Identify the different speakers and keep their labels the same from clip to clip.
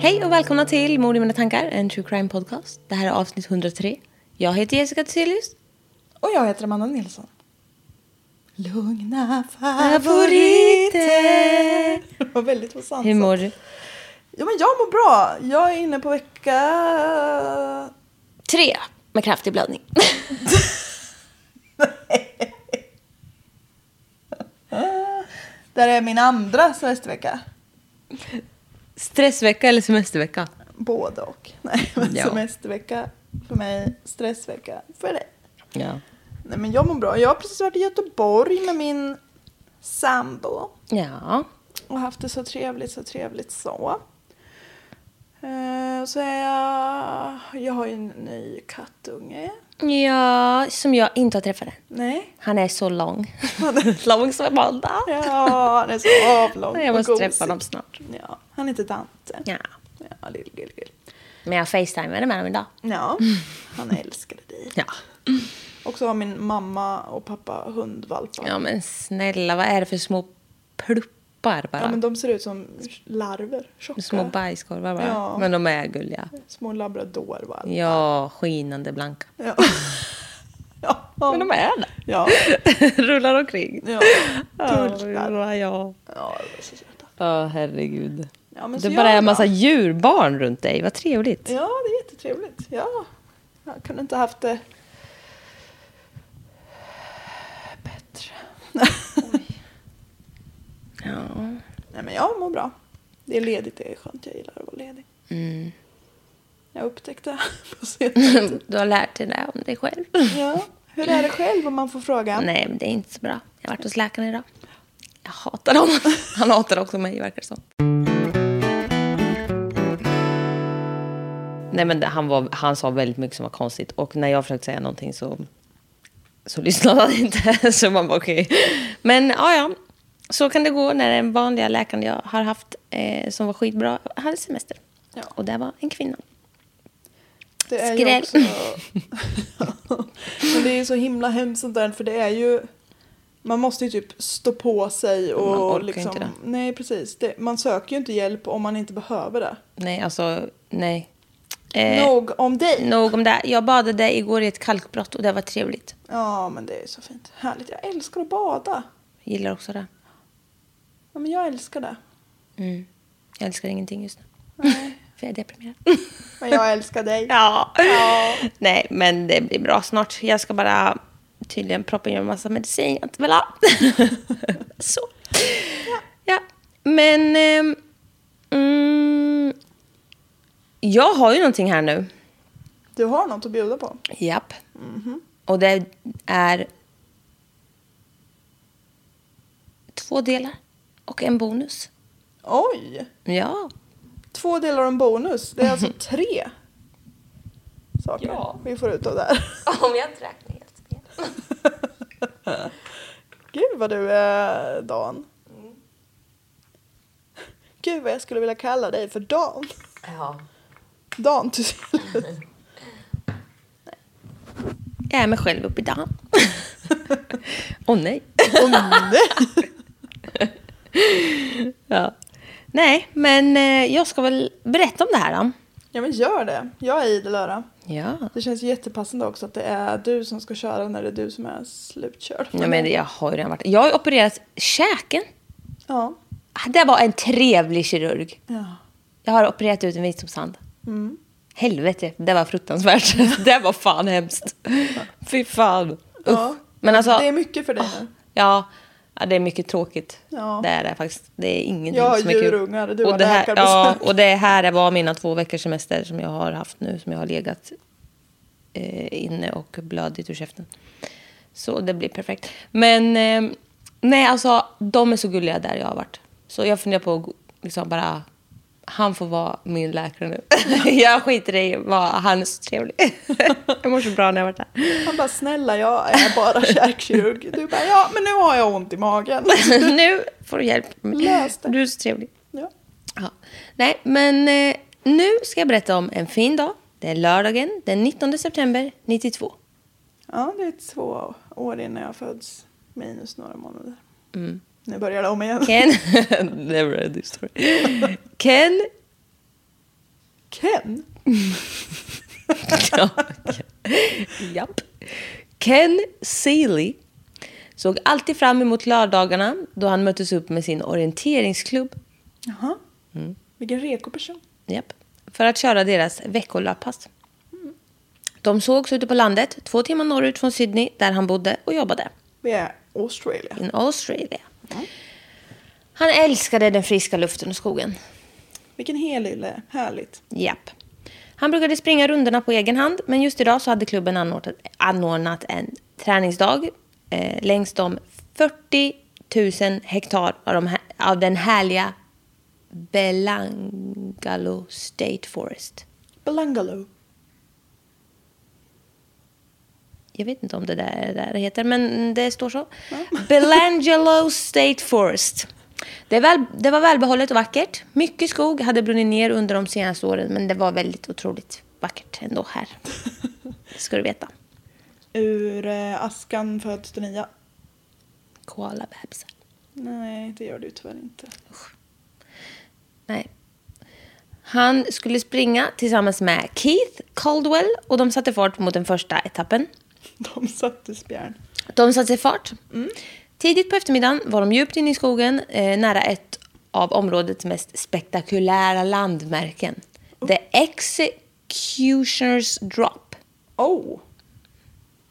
Speaker 1: Hej och välkomna till Mord i mina tankar, en true crime podcast. Det här är avsnitt 103. Jag heter Jessica Thyselius.
Speaker 2: Och jag heter Amanda Nilsson. Lugna
Speaker 1: Favoriter.
Speaker 2: favoriter. Det var väldigt osansat.
Speaker 1: Hur mår du?
Speaker 2: Ja, men jag mår bra. Jag är inne på vecka...
Speaker 1: Tre, med kraftig blödning.
Speaker 2: Där är min andra semestervecka.
Speaker 1: Stressvecka eller semestervecka?
Speaker 2: Både och. Nej, men
Speaker 1: Ja.
Speaker 2: semestervecka för mig, stressvecka för dig.
Speaker 1: Ja.
Speaker 2: Nej, men jag mår bra. Jag har precis varit i Göteborg med min sambo.
Speaker 1: Ja.
Speaker 2: och haft det så trevligt, så trevligt så. Eh, Så är jag, jag har ju en ny kattunge.
Speaker 1: Ja, som jag inte har träffat än.
Speaker 2: Nej.
Speaker 1: Han är så lång. lång som en måndag.
Speaker 2: Ja, han är så avlång
Speaker 1: Jag
Speaker 2: och
Speaker 1: måste
Speaker 2: gosig.
Speaker 1: träffa honom snart.
Speaker 2: Ja, han heter Dante.
Speaker 1: Ja.
Speaker 2: Ja, lill, lill, lill.
Speaker 1: Men jag facetimade med honom idag.
Speaker 2: ja han älskade dig.
Speaker 1: Ja.
Speaker 2: Och så har min mamma och pappa hundvalpar.
Speaker 1: Ja men snälla, vad är det för små pluppar bara?
Speaker 2: Ja, men de ser ut som larver, tjocka.
Speaker 1: Små bajskorvar bara.
Speaker 2: Ja.
Speaker 1: Men de är gulliga.
Speaker 2: Små labradorvalpar.
Speaker 1: Ja, skinande blanka.
Speaker 2: Ja. ja.
Speaker 1: Men de är det.
Speaker 2: Ja.
Speaker 1: Rullar omkring.
Speaker 2: Ja. Tullar.
Speaker 1: Ja, ja.
Speaker 2: Ja, de är så söta.
Speaker 1: Ja, herregud.
Speaker 2: Ja,
Speaker 1: det
Speaker 2: men så
Speaker 1: bara
Speaker 2: gör
Speaker 1: är en
Speaker 2: jag.
Speaker 1: massa djurbarn runt dig. Vad trevligt.
Speaker 2: Ja, det är jättetrevligt. Ja. Jag kunde inte haft det bättre.
Speaker 1: Ja.
Speaker 2: Nej, men jag mår bra. Det är ledigt, det är skönt. Jag gillar att vara ledig.
Speaker 1: Mm.
Speaker 2: Jag upptäckte på senare tid.
Speaker 1: Du har lärt dig det om dig själv.
Speaker 2: Ja. Hur är det själv om man får frågan?
Speaker 1: Nej, men det är inte så bra. Jag har varit hos läkaren idag. Jag hatar honom. Han hatar också mig, verkar det som. Nej, men det, han, var, han sa väldigt mycket som var konstigt. Och när jag försökte säga någonting så, så lyssnade han inte. Så man bara okej. Men ja, ja. Så kan det gå när den vanliga läkaren jag har haft eh, som var skitbra hade semester.
Speaker 2: Ja.
Speaker 1: Och det var en kvinna.
Speaker 2: Det är
Speaker 1: Skräll.
Speaker 2: ju också... Men det är ju så himla hemskt sånt där, för det är ju... Man måste ju typ stå på sig och
Speaker 1: Man orkar
Speaker 2: liksom...
Speaker 1: inte det.
Speaker 2: Nej, precis. Det, man söker ju inte hjälp om man inte behöver det.
Speaker 1: Nej, alltså nej. Eh,
Speaker 2: Nog om dig.
Speaker 1: Nog om det. Jag badade igår i ett kalkbrott och det var trevligt.
Speaker 2: Ja, men det är så fint. Härligt. Jag älskar att bada.
Speaker 1: Jag gillar också det.
Speaker 2: Ja, men jag älskar det.
Speaker 1: Mm. Jag älskar ingenting just nu.
Speaker 2: Nej.
Speaker 1: För jag är deprimerad.
Speaker 2: Men jag älskar dig.
Speaker 1: ja.
Speaker 2: Ja.
Speaker 1: Nej, men det blir bra snart. Jag ska bara tydligen proppa in en massa medicin jag inte vill ha. Så. Ja. Men... ehm, mm, jag har ju någonting här nu.
Speaker 2: Du har något att bjuda på.
Speaker 1: Japp. Och det är två delar och en bonus.
Speaker 2: Oj!
Speaker 1: Ja.
Speaker 2: Två delar och en bonus. Det är alltså tre saker
Speaker 1: Ja.
Speaker 2: vi får ut av det här.
Speaker 1: Om jag inte räknar helt fel.
Speaker 2: Gud vad du är Dan.
Speaker 1: Mm.
Speaker 2: Gud vad jag skulle vilja kalla dig för Dan.
Speaker 1: Ja.
Speaker 2: Dan Thyselius.
Speaker 1: Jag är mig själv upp i dagen. Åh nej.
Speaker 2: Åh, nej.
Speaker 1: Ja. Nej, men eh, jag ska väl berätta om det här då.
Speaker 2: Ja men gör det. Jag är idel öra.
Speaker 1: Ja.
Speaker 2: Det känns ju jättepassande också att det är du som ska köra när det är du som är slutkörd.
Speaker 1: ja men jag har ju redan varit... Jag har ju opererat käken.
Speaker 2: Ja.
Speaker 1: Det var en trevlig kirurg.
Speaker 2: ja.
Speaker 1: Jag har opererat ut en visdomstand.
Speaker 2: Mm.
Speaker 1: Helvete, det var fruktansvärt. det var fan hemskt. Fy fan. Usch.
Speaker 2: Ja.
Speaker 1: Men alltså,
Speaker 2: Det är mycket för dig nu.
Speaker 1: ja, ja, det är mycket tråkigt.
Speaker 2: Ja.
Speaker 1: Det är det faktiskt. Det är ingenting
Speaker 2: Jag har
Speaker 1: som är kul.
Speaker 2: djurungar, du
Speaker 1: och
Speaker 2: har
Speaker 1: det här, Ja,
Speaker 2: läkarbesök.
Speaker 1: och det här var mina två veckors semester som jag har haft nu, som jag har legat eh, inne och blödigt ur käften. Så det blir perfekt. Men eh, nej, alltså de är så gulliga där jag har varit. Så jag funderar på att gå- liksom bara, han får vara min läkare nu. jag skiter i vad han är så trevlig. jag mår så bra när jag har varit där.
Speaker 2: Han bara snälla jag är bara käkkirurg. Du bara ja men nu har jag ont i magen.
Speaker 1: nu får du hjälp.
Speaker 2: Lös det.
Speaker 1: Du är så trevlig.
Speaker 2: Ja.
Speaker 1: Ja. Nej, men eh, nu ska jag berätta om en fin dag. Det är lördagen den 19 september 92.
Speaker 2: ja det är två år innan jag föds. Minus några månader.
Speaker 1: Mm.
Speaker 2: Nu börjar det om igen.
Speaker 1: Ken... Never a story. Ken
Speaker 2: Ken?
Speaker 1: Ja. Japp. Ken Seeley såg alltid fram emot lördagarna då han möttes upp med sin orienteringsklubb
Speaker 2: Jaha.
Speaker 1: Mm.
Speaker 2: Vilken reko person.
Speaker 1: Japp. För att köra deras veckolöppass. De sågs ute på landet, två timmar norrut från Sydney, där han bodde och jobbade.
Speaker 2: Vi är Australia.
Speaker 1: In Australia. Han älskade den friska luften och skogen.
Speaker 2: Vilken hel lille, härligt.
Speaker 1: Japp. Han brukade springa rundorna på egen hand, men just idag så hade klubben anordnat, anordnat en träningsdag eh, längs de 40 000 hektar av, de, här- av den härliga Belangalo State Forest.
Speaker 2: Belangalo.
Speaker 1: Jag vet inte om det där, är det där det heter, men det står så. Belangelo State Forest. Det, väl, det var välbehållet och vackert. Mycket skog hade brunnit ner under de senaste åren, men det var väldigt otroligt vackert ändå här. Det ska du veta.
Speaker 2: Ur eh, askan föds den nya.
Speaker 1: Koalabebisar.
Speaker 2: Nej, det gör du tyvärr inte.
Speaker 1: Nej. Han skulle springa tillsammans med Keith Caldwell och de satte fart mot den första etappen.
Speaker 2: De satte spjärn.
Speaker 1: De satte sig fart. Tidigt på eftermiddagen var de djupt inne i skogen eh, nära ett av områdets mest spektakulära landmärken. The Executioner's Drop.
Speaker 2: Oh!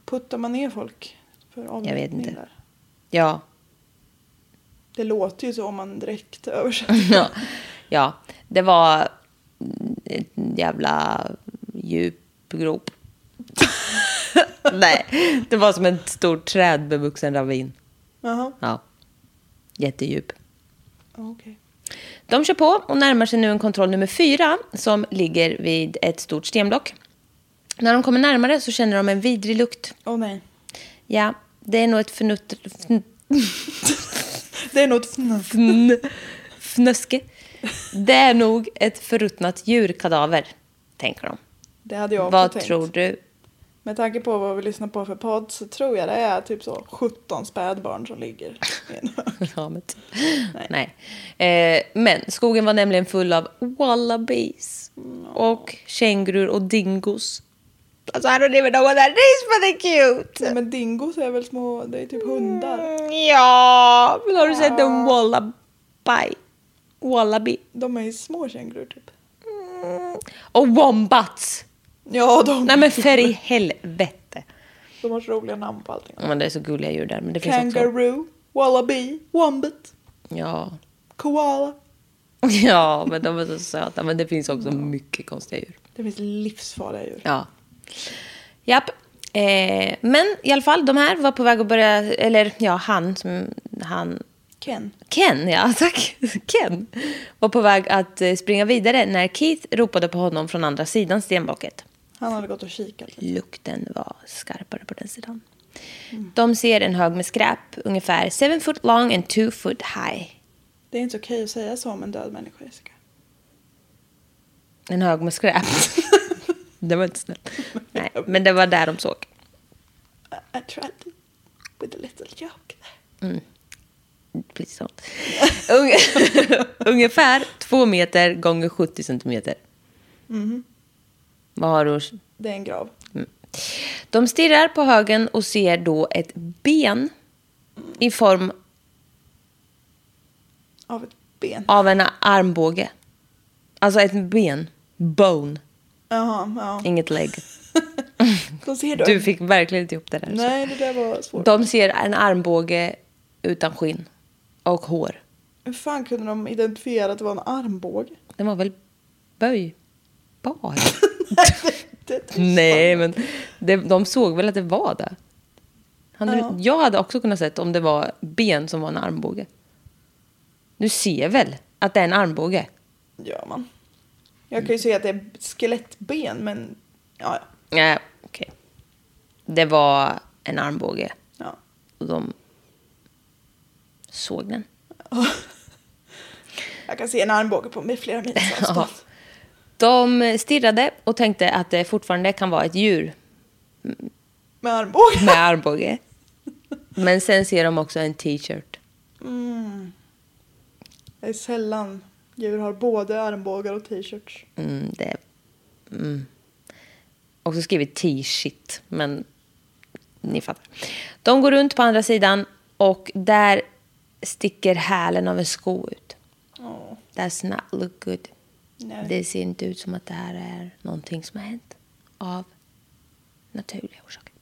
Speaker 2: Puttar man ner folk för
Speaker 1: Jag vet
Speaker 2: avrättning
Speaker 1: inte.
Speaker 2: där?
Speaker 1: Ja.
Speaker 2: Det låter ju så om man direkt översätter.
Speaker 1: ja. ja, det var en jävla djup grop. Nej, det var som en stor trädbevuxen ravin.
Speaker 2: Jaha,
Speaker 1: Ja. Jättedjup.
Speaker 2: okej.
Speaker 1: De kör på och närmar sig nu en kontroll nummer fyra som ligger vid ett stort stenblock. När de kommer närmare så känner de en vidrig lukt.
Speaker 2: Åh nej.
Speaker 1: Ja, det är nog ett fnutt... fn-
Speaker 2: Det är något fnuff.
Speaker 1: fn- fnöske. Det är nog ett förruttnat djurkadaver, tänker de.
Speaker 2: Det hade jag också
Speaker 1: Vad
Speaker 2: tänkt.
Speaker 1: tror du?
Speaker 2: Med tanke på vad vi lyssnar på för podd så tror jag det är typ så 17 spädbarn som ligger i en hög.
Speaker 1: Ja, men typ. Nej. Eh, men skogen var nämligen full av wallabies och kängurur och dingos. Alltså, I don't even know what that is, but they're cute!
Speaker 2: Nej, men dingos är väl små, det är typ
Speaker 1: Mm.
Speaker 2: hundar.
Speaker 1: Ja, men har du sett en wallaby? Wallaby.
Speaker 2: De är ju små kängurur typ.
Speaker 1: Och wombats!
Speaker 2: Ja, de,
Speaker 1: Nej men för i helvete.
Speaker 2: de har så roliga namn på allting.
Speaker 1: Ja, Men det är så gulliga djur där. Men det finns också...
Speaker 2: Kangaroo, wallaby, wombat,
Speaker 1: Ja.
Speaker 2: koala.
Speaker 1: ja, men de är så söta. Men det finns också mycket konstiga djur.
Speaker 2: Det finns livsfarliga djur.
Speaker 1: Ja. Japp. Eh, men i alla fall, de här var på väg att börja... Eller ja, han som... Han
Speaker 2: Ken.
Speaker 1: Ken, ja tack. Ken var på väg att eh, springa vidare när Keith ropade på honom från andra sidan stenblocket.
Speaker 2: Han hade gått och kikat lite.
Speaker 1: Lukten var skarpare på den sidan. De ser en hög med skräp, ungefär 7 foot long and 2 foot high.
Speaker 2: Det är inte okej att säga så om en död människa, Jessica.
Speaker 1: En hög med skräp. det var inte snällt. Nej, men det var där de såg.
Speaker 2: I, I tried to, with a little joke there.
Speaker 1: Please don't. Unge- ungefär 2 meter gånger 70 centimeter. Mm-hmm. Vad har du? mm.
Speaker 2: Det är en grav.
Speaker 1: De stirrar på högen och ser då ett ben i form
Speaker 2: Av ett ben.
Speaker 1: av en armbåge. Alltså ett ben. Bone.
Speaker 2: Jaha, ja.
Speaker 1: Inget leg.
Speaker 2: De ser då.
Speaker 1: Du fick verkligen inte ihop det där.
Speaker 2: Nej, det där var svårt.
Speaker 1: De ser en armbåge utan skinn och hår.
Speaker 2: Hur fan kunde de identifiera att det var en armbåge?
Speaker 1: Den var väl böjbar?
Speaker 2: det, det,
Speaker 1: Nej, men det, de såg väl att det var det. Hade,
Speaker 2: Ja.
Speaker 1: Jag hade också kunnat sett om det var ben som var en armbåge. Du ser väl att det är en armbåge?
Speaker 2: gör man. Jag kan ju säga att det är skelettben, men ja, ja.
Speaker 1: Nej, okej. Det var en armbåge.
Speaker 2: ja.
Speaker 1: Och de såg den.
Speaker 2: Jag kan se en armbåge på med flera mils avstånd.
Speaker 1: De stirrade och tänkte att det fortfarande kan vara ett djur
Speaker 2: Med armbåge.
Speaker 1: med armbåge. Men sen ser de också en t-shirt.
Speaker 2: Det är sällan djur har både armbågar och t-shirts.
Speaker 1: Mm, det Också skrivit t-shit, men ni fattar. De går runt på andra sidan och där sticker hälen av en sko ut.
Speaker 2: Ja.
Speaker 1: That's not look good.
Speaker 2: Nej.
Speaker 1: Det ser inte ut som att det här är någonting som har hänt av naturliga orsaker.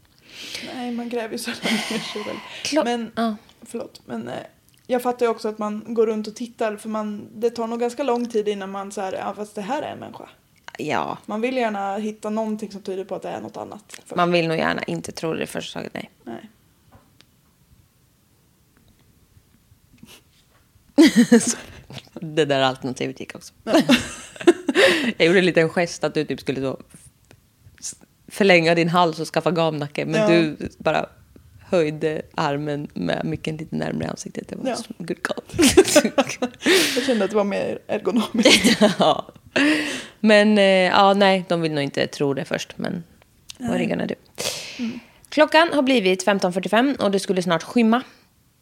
Speaker 2: Nej, man gräver ju sällan ner sig väl.
Speaker 1: Klo-
Speaker 2: Men,
Speaker 1: ja.
Speaker 2: förlåt, men eh, jag fattar ju också att man går runt och tittar för man, det tar nog ganska lång tid innan man så här, ja fast det här är en människa.
Speaker 1: Ja,
Speaker 2: Man vill gärna hitta någonting som tyder på att det är något annat. För,
Speaker 1: man vill nog gärna inte tro det i första taget, nej.
Speaker 2: Nej.
Speaker 1: Så, det där alternativet gick också. jag gjorde en liten gest att du typ skulle då s- förlänga din hals och skaffa gamnacke. Men
Speaker 2: Ja.
Speaker 1: du bara höjde armen med mycket lite närmare ansiktet. Det var
Speaker 2: Ja.
Speaker 1: så good call.
Speaker 2: Jag kände att det var mer ergonomiskt.
Speaker 1: ja. Men eh, ja, nej, de vill nog inte tro det först. Men vad riggarna du. Klockan har blivit 15.45 och det skulle snart skymma.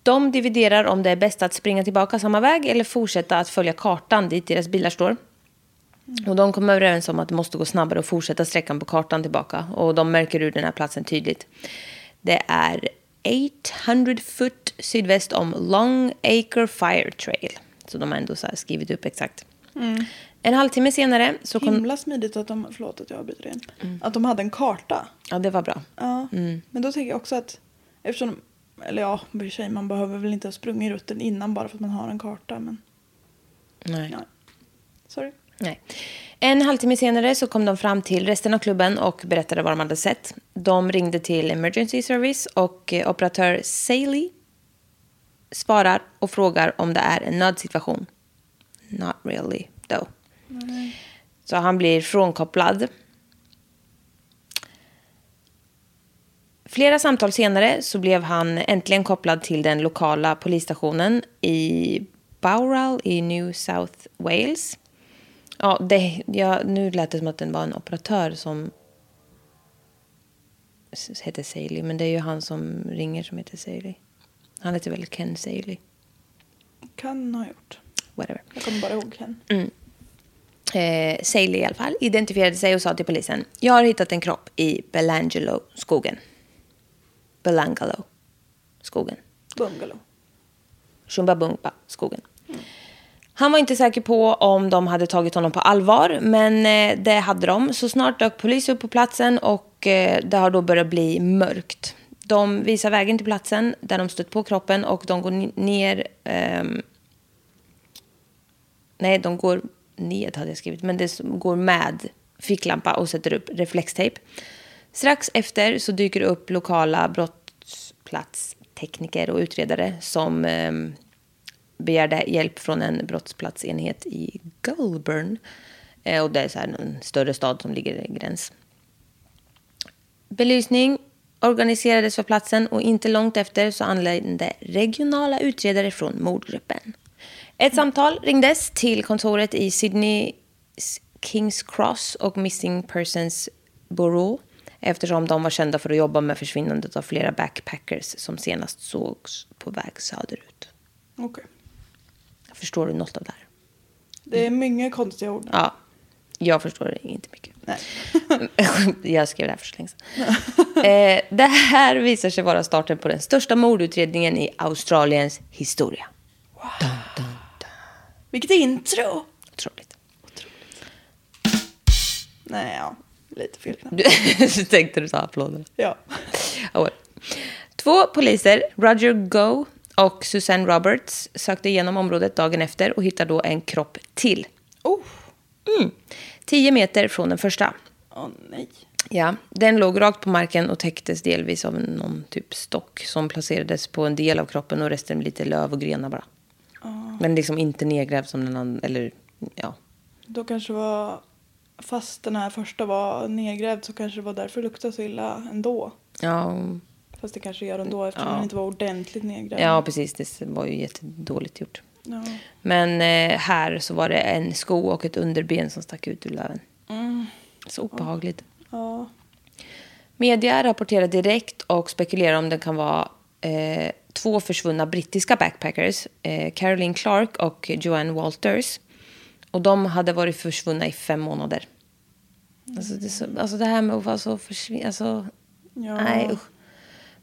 Speaker 1: De dividerar om det är bäst att springa tillbaka samma väg eller fortsätta att följa kartan dit deras bilar står. Och de kommer överens om att det måste gå snabbare och fortsätta sträckan på kartan tillbaka. Och de märker ur den här platsen tydligt. Det är 800 foot sydväst om Long Acre Fire Trail. Så de har ändå så här skrivit upp exakt. En halvtimme senare så kom...
Speaker 2: Himla smidigt att de, förlåt att jag avbryter igen,
Speaker 1: Mm.
Speaker 2: att de hade en karta.
Speaker 1: Ja, det var bra.
Speaker 2: Ja.
Speaker 1: Mm.
Speaker 2: Men då tänker jag också att eftersom, eller ja, i och för sig, man behöver väl inte ha sprungit rutten innan bara för att man har en karta. Men
Speaker 1: Nej.
Speaker 2: nej. Sorry.
Speaker 1: Nej. En halvtimme senare så kom de fram till resten av klubben och berättade vad de hade sett. De ringde till Emergency Service och eh, operatör Saley svarar och frågar om det är en nödsituation. Not really, though. Så han blir frånkopplad. Flera samtal senare så blev han äntligen kopplad till den lokala polisstationen i Bowral i New South Wales. Ja, det, ja, nu lät det som att det var en operatör som s- heter Saley, men det är ju han som ringer som heter Saley. Han heter väl Ken Saley,
Speaker 2: Kan ha gjort.
Speaker 1: whatever.
Speaker 2: Jag kommer bara ihåg henne.
Speaker 1: Mm. eh, Saley i alla fall, identifierade sig och sa till polisen Jag har hittat en kropp i Belangelo-skogen. Belangalo-skogen.
Speaker 2: Bungalow.
Speaker 1: Chumbabumba-skogen. Han var inte säker på om de hade tagit honom på allvar, men eh, det hade de. Så snart dök polis upp på platsen och eh, det har då börjat bli mörkt. De visar vägen till platsen där de stött på kroppen och de går ni- ner... ehm, Nej, de går ned hade jag skrivit, men det som går med ficklampa och sätter upp reflextejp. Strax efter så dyker det upp lokala brottsplatstekniker och utredare som eh, begärde hjälp från en brottsplatsenhet i Goulburn. Eh, och det är så här en större stad som ligger i gräns. Belysning organiserades för platsen och inte långt efter så anlände regionala utredare från mordgruppen. Ett samtal ringdes till kontoret i Sydneys Kings Cross och Missing Persons Bureau eftersom de var kända för att jobba med försvinnandet av flera backpackers som senast sågs på väg söderut.
Speaker 2: Okej.
Speaker 1: Förstår du något av det här?
Speaker 2: Det är mycket konstiga ord.
Speaker 1: Ja, jag förstår inte mycket.
Speaker 2: Nej.
Speaker 1: jag skrev det här för så länge sedan. eh, det här visar sig vara starten på den största mordutredningen i Australiens historia.
Speaker 2: Vilket intro!
Speaker 1: Otroligt.
Speaker 2: Nej, ja. Lite fel knappt.
Speaker 1: Du, så tänkte du så här, applåderna.
Speaker 2: Ja.
Speaker 1: Ja, well. Två poliser, Roger Go och Susanne Roberts, sökte igenom området dagen efter och hittade då en kropp till.
Speaker 2: Oh!
Speaker 1: Mm. Tio meter från den första.
Speaker 2: Åh nej.
Speaker 1: Ja, den låg rakt på marken och täcktes delvis av någon typ stock som placerades på en del av kroppen och resten lite löv och grenar bara. Men liksom inte nedgrävd som den andra, eller ja.
Speaker 2: Då kanske var... Fast den här första var nedgrävd så kanske det var därför det luktade så illa ändå.
Speaker 1: Ja,
Speaker 2: Fast det kanske gör ändå eftersom
Speaker 1: Ja.
Speaker 2: den inte var ordentligt nedgrävd.
Speaker 1: ja precis, det var ju jättedåligt gjort.
Speaker 2: Ja.
Speaker 1: Men eh, här så var det en sko och ett underben som stack ut ur löven. Så obehagligt.
Speaker 2: Mm. ja.
Speaker 1: Media rapporterar direkt och spekulerar om det kan vara eh, två försvunna brittiska backpackers, eh, Caroline Clark och Joanne Walters. Och de hade varit försvunna i fem månader. Alltså det, är så, alltså det här med att vara så försvinna... Alltså,
Speaker 2: Ja.
Speaker 1: Nej, usch.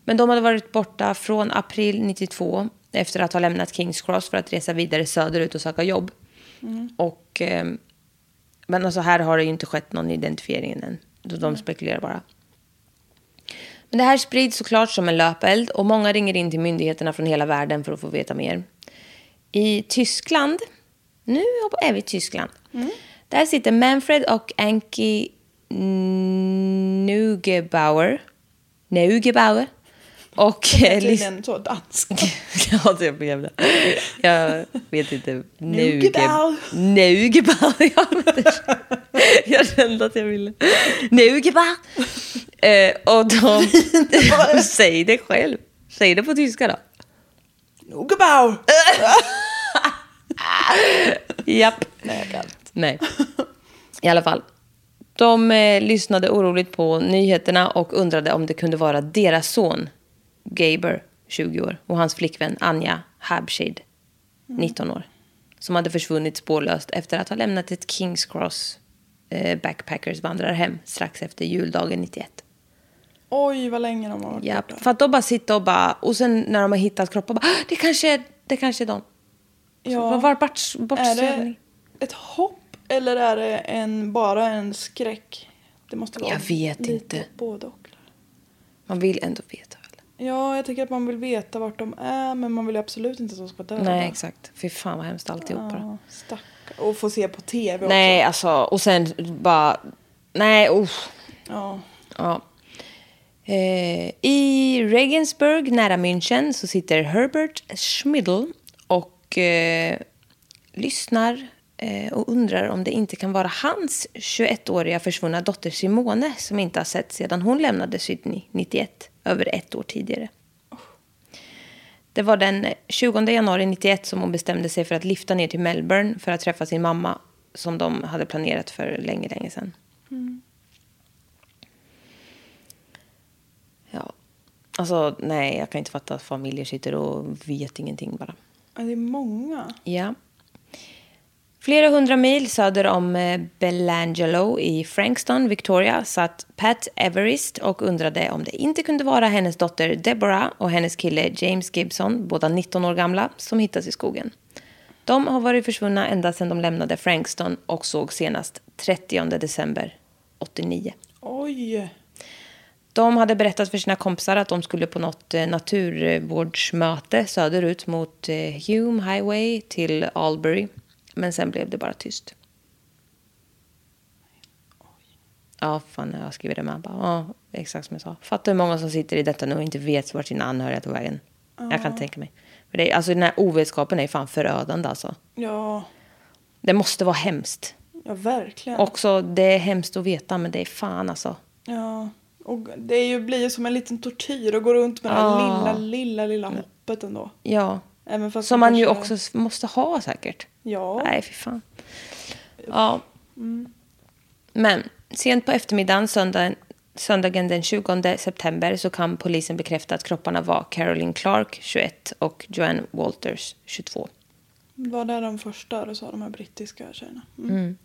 Speaker 1: Men de hade varit borta från april 92 efter att ha lämnat Kings Cross för att resa vidare söderut och söka jobb. Och, eh, men alltså här har det ju inte skett någon identifiering än. Så de spekulerar bara. Men det här sprids såklart som en löpeld och många ringer in till myndigheterna från hela världen för att få veta mer. I Tyskland, nu är vi i Tyskland, där sitter Manfred och Anki Neugebauer, Neugebauer och
Speaker 2: Det
Speaker 1: Lis-
Speaker 2: är så dansk.
Speaker 1: ja, det blir jävla... Jag vet inte.
Speaker 2: Nugebau.
Speaker 1: Nugebau. Jag, jag kände att jag ville. Nugebau. Eh, och de... Säg det själv. Säg det på tyska då.
Speaker 2: Nogebau!
Speaker 1: Japp. Nej. I alla fall. De eh, lyssnade oroligt på nyheterna och undrade om det kunde vara deras son Gaber, 20 år, och hans flickvän Anja Habshid,
Speaker 2: Mm.
Speaker 1: 19 år, som hade försvunnit spårlöst efter att ha lämnat ett Kings Cross eh, Backpackers vandrarhem strax efter juldagen 91.
Speaker 2: Oj, vad länge de har varit
Speaker 1: Ja,
Speaker 2: borta.
Speaker 1: för att de bara sitter och bara, och sen när de har hittat kroppen, bara, "Ah, det kanske är, det kanske är de.
Speaker 2: Ja.
Speaker 1: Ja. Var bort, bort,
Speaker 2: Är det ett hopp eller är det en, bara en skräck? Det måste vara
Speaker 1: Jag vet
Speaker 2: lite
Speaker 1: inte.
Speaker 2: både och.
Speaker 1: Man vill ändå veta. Väl?
Speaker 2: Ja, jag tänker att man vill veta vart de är men man vill ju absolut inte att de ska döda.
Speaker 1: Nej, exakt. Fy fan vad hemskt alltihopa.
Speaker 2: Ja, stack. Och få se på tv
Speaker 1: Nej, alltså. Och sen bara... Nej, usch.
Speaker 2: också. Ja.
Speaker 1: Ja. Eh, I Regensburg, nära München, så sitter Herbert Schmidl och eh, lyssnar eh, och undrar om det inte kan vara hans 21-åriga försvunna dotter Simone som inte har sett sedan hon lämnade Sydney 91, över ett år tidigare. Det var den 20 januari 91 som hon bestämde sig för att lyfta ner till Melbourne för att träffa sin mamma som de hade planerat för länge, länge sedan. Ja. Alltså, nej, jag kan inte fatta att familjer sitter och vet ingenting bara.
Speaker 2: Ja, Det är många.
Speaker 1: Ja. Flera hundra mil söder om eh, Belangelo i Frankston, Victoria, satt Pat Everist och undrade om det inte kunde vara hennes dotter Deborah och hennes kille James Gibson, båda 19 år gamla, som hittas i skogen. De har varit försvunna ända sedan de lämnade Frankston och såg senast 30 december 89.
Speaker 2: Oj!
Speaker 1: De hade berättat för sina kompisar att de skulle på något eh, naturvårdsmöte söderut mot eh, Hume Highway till Albury. Men sen blev det bara tyst. Ja, fan, jag skriver det med. Bara, Ja, exakt som jag sa. Fattar hur många som sitter i detta nu och inte vet vart sina anhöriga tog vägen. Jag kan tänka mig. För det är, alltså, den här ovetskapen är fan förödande alltså.
Speaker 2: Ja,
Speaker 1: Det måste vara hemskt.
Speaker 2: ja verkligen.
Speaker 1: Också, det är hemskt att veta, men det är fan alltså.
Speaker 2: Ja. Och det är ju, blir ju som en liten tortyr och gå runt med det här lilla, lilla, lilla hoppet ändå.
Speaker 1: Ja.
Speaker 2: Även fast
Speaker 1: Som
Speaker 2: det
Speaker 1: man ju
Speaker 2: kanske-
Speaker 1: också s- måste ha säkert.
Speaker 2: Ja.
Speaker 1: Nej, fy fan. Ja. Men sent på eftermiddagen söndagen, söndagen den 20 september så kan polisen bekräfta att kropparna var Caroline Clark, 21, och Joanne Walters, 22.
Speaker 2: Var det de första du sa, de här brittiska tjejerna? Mm.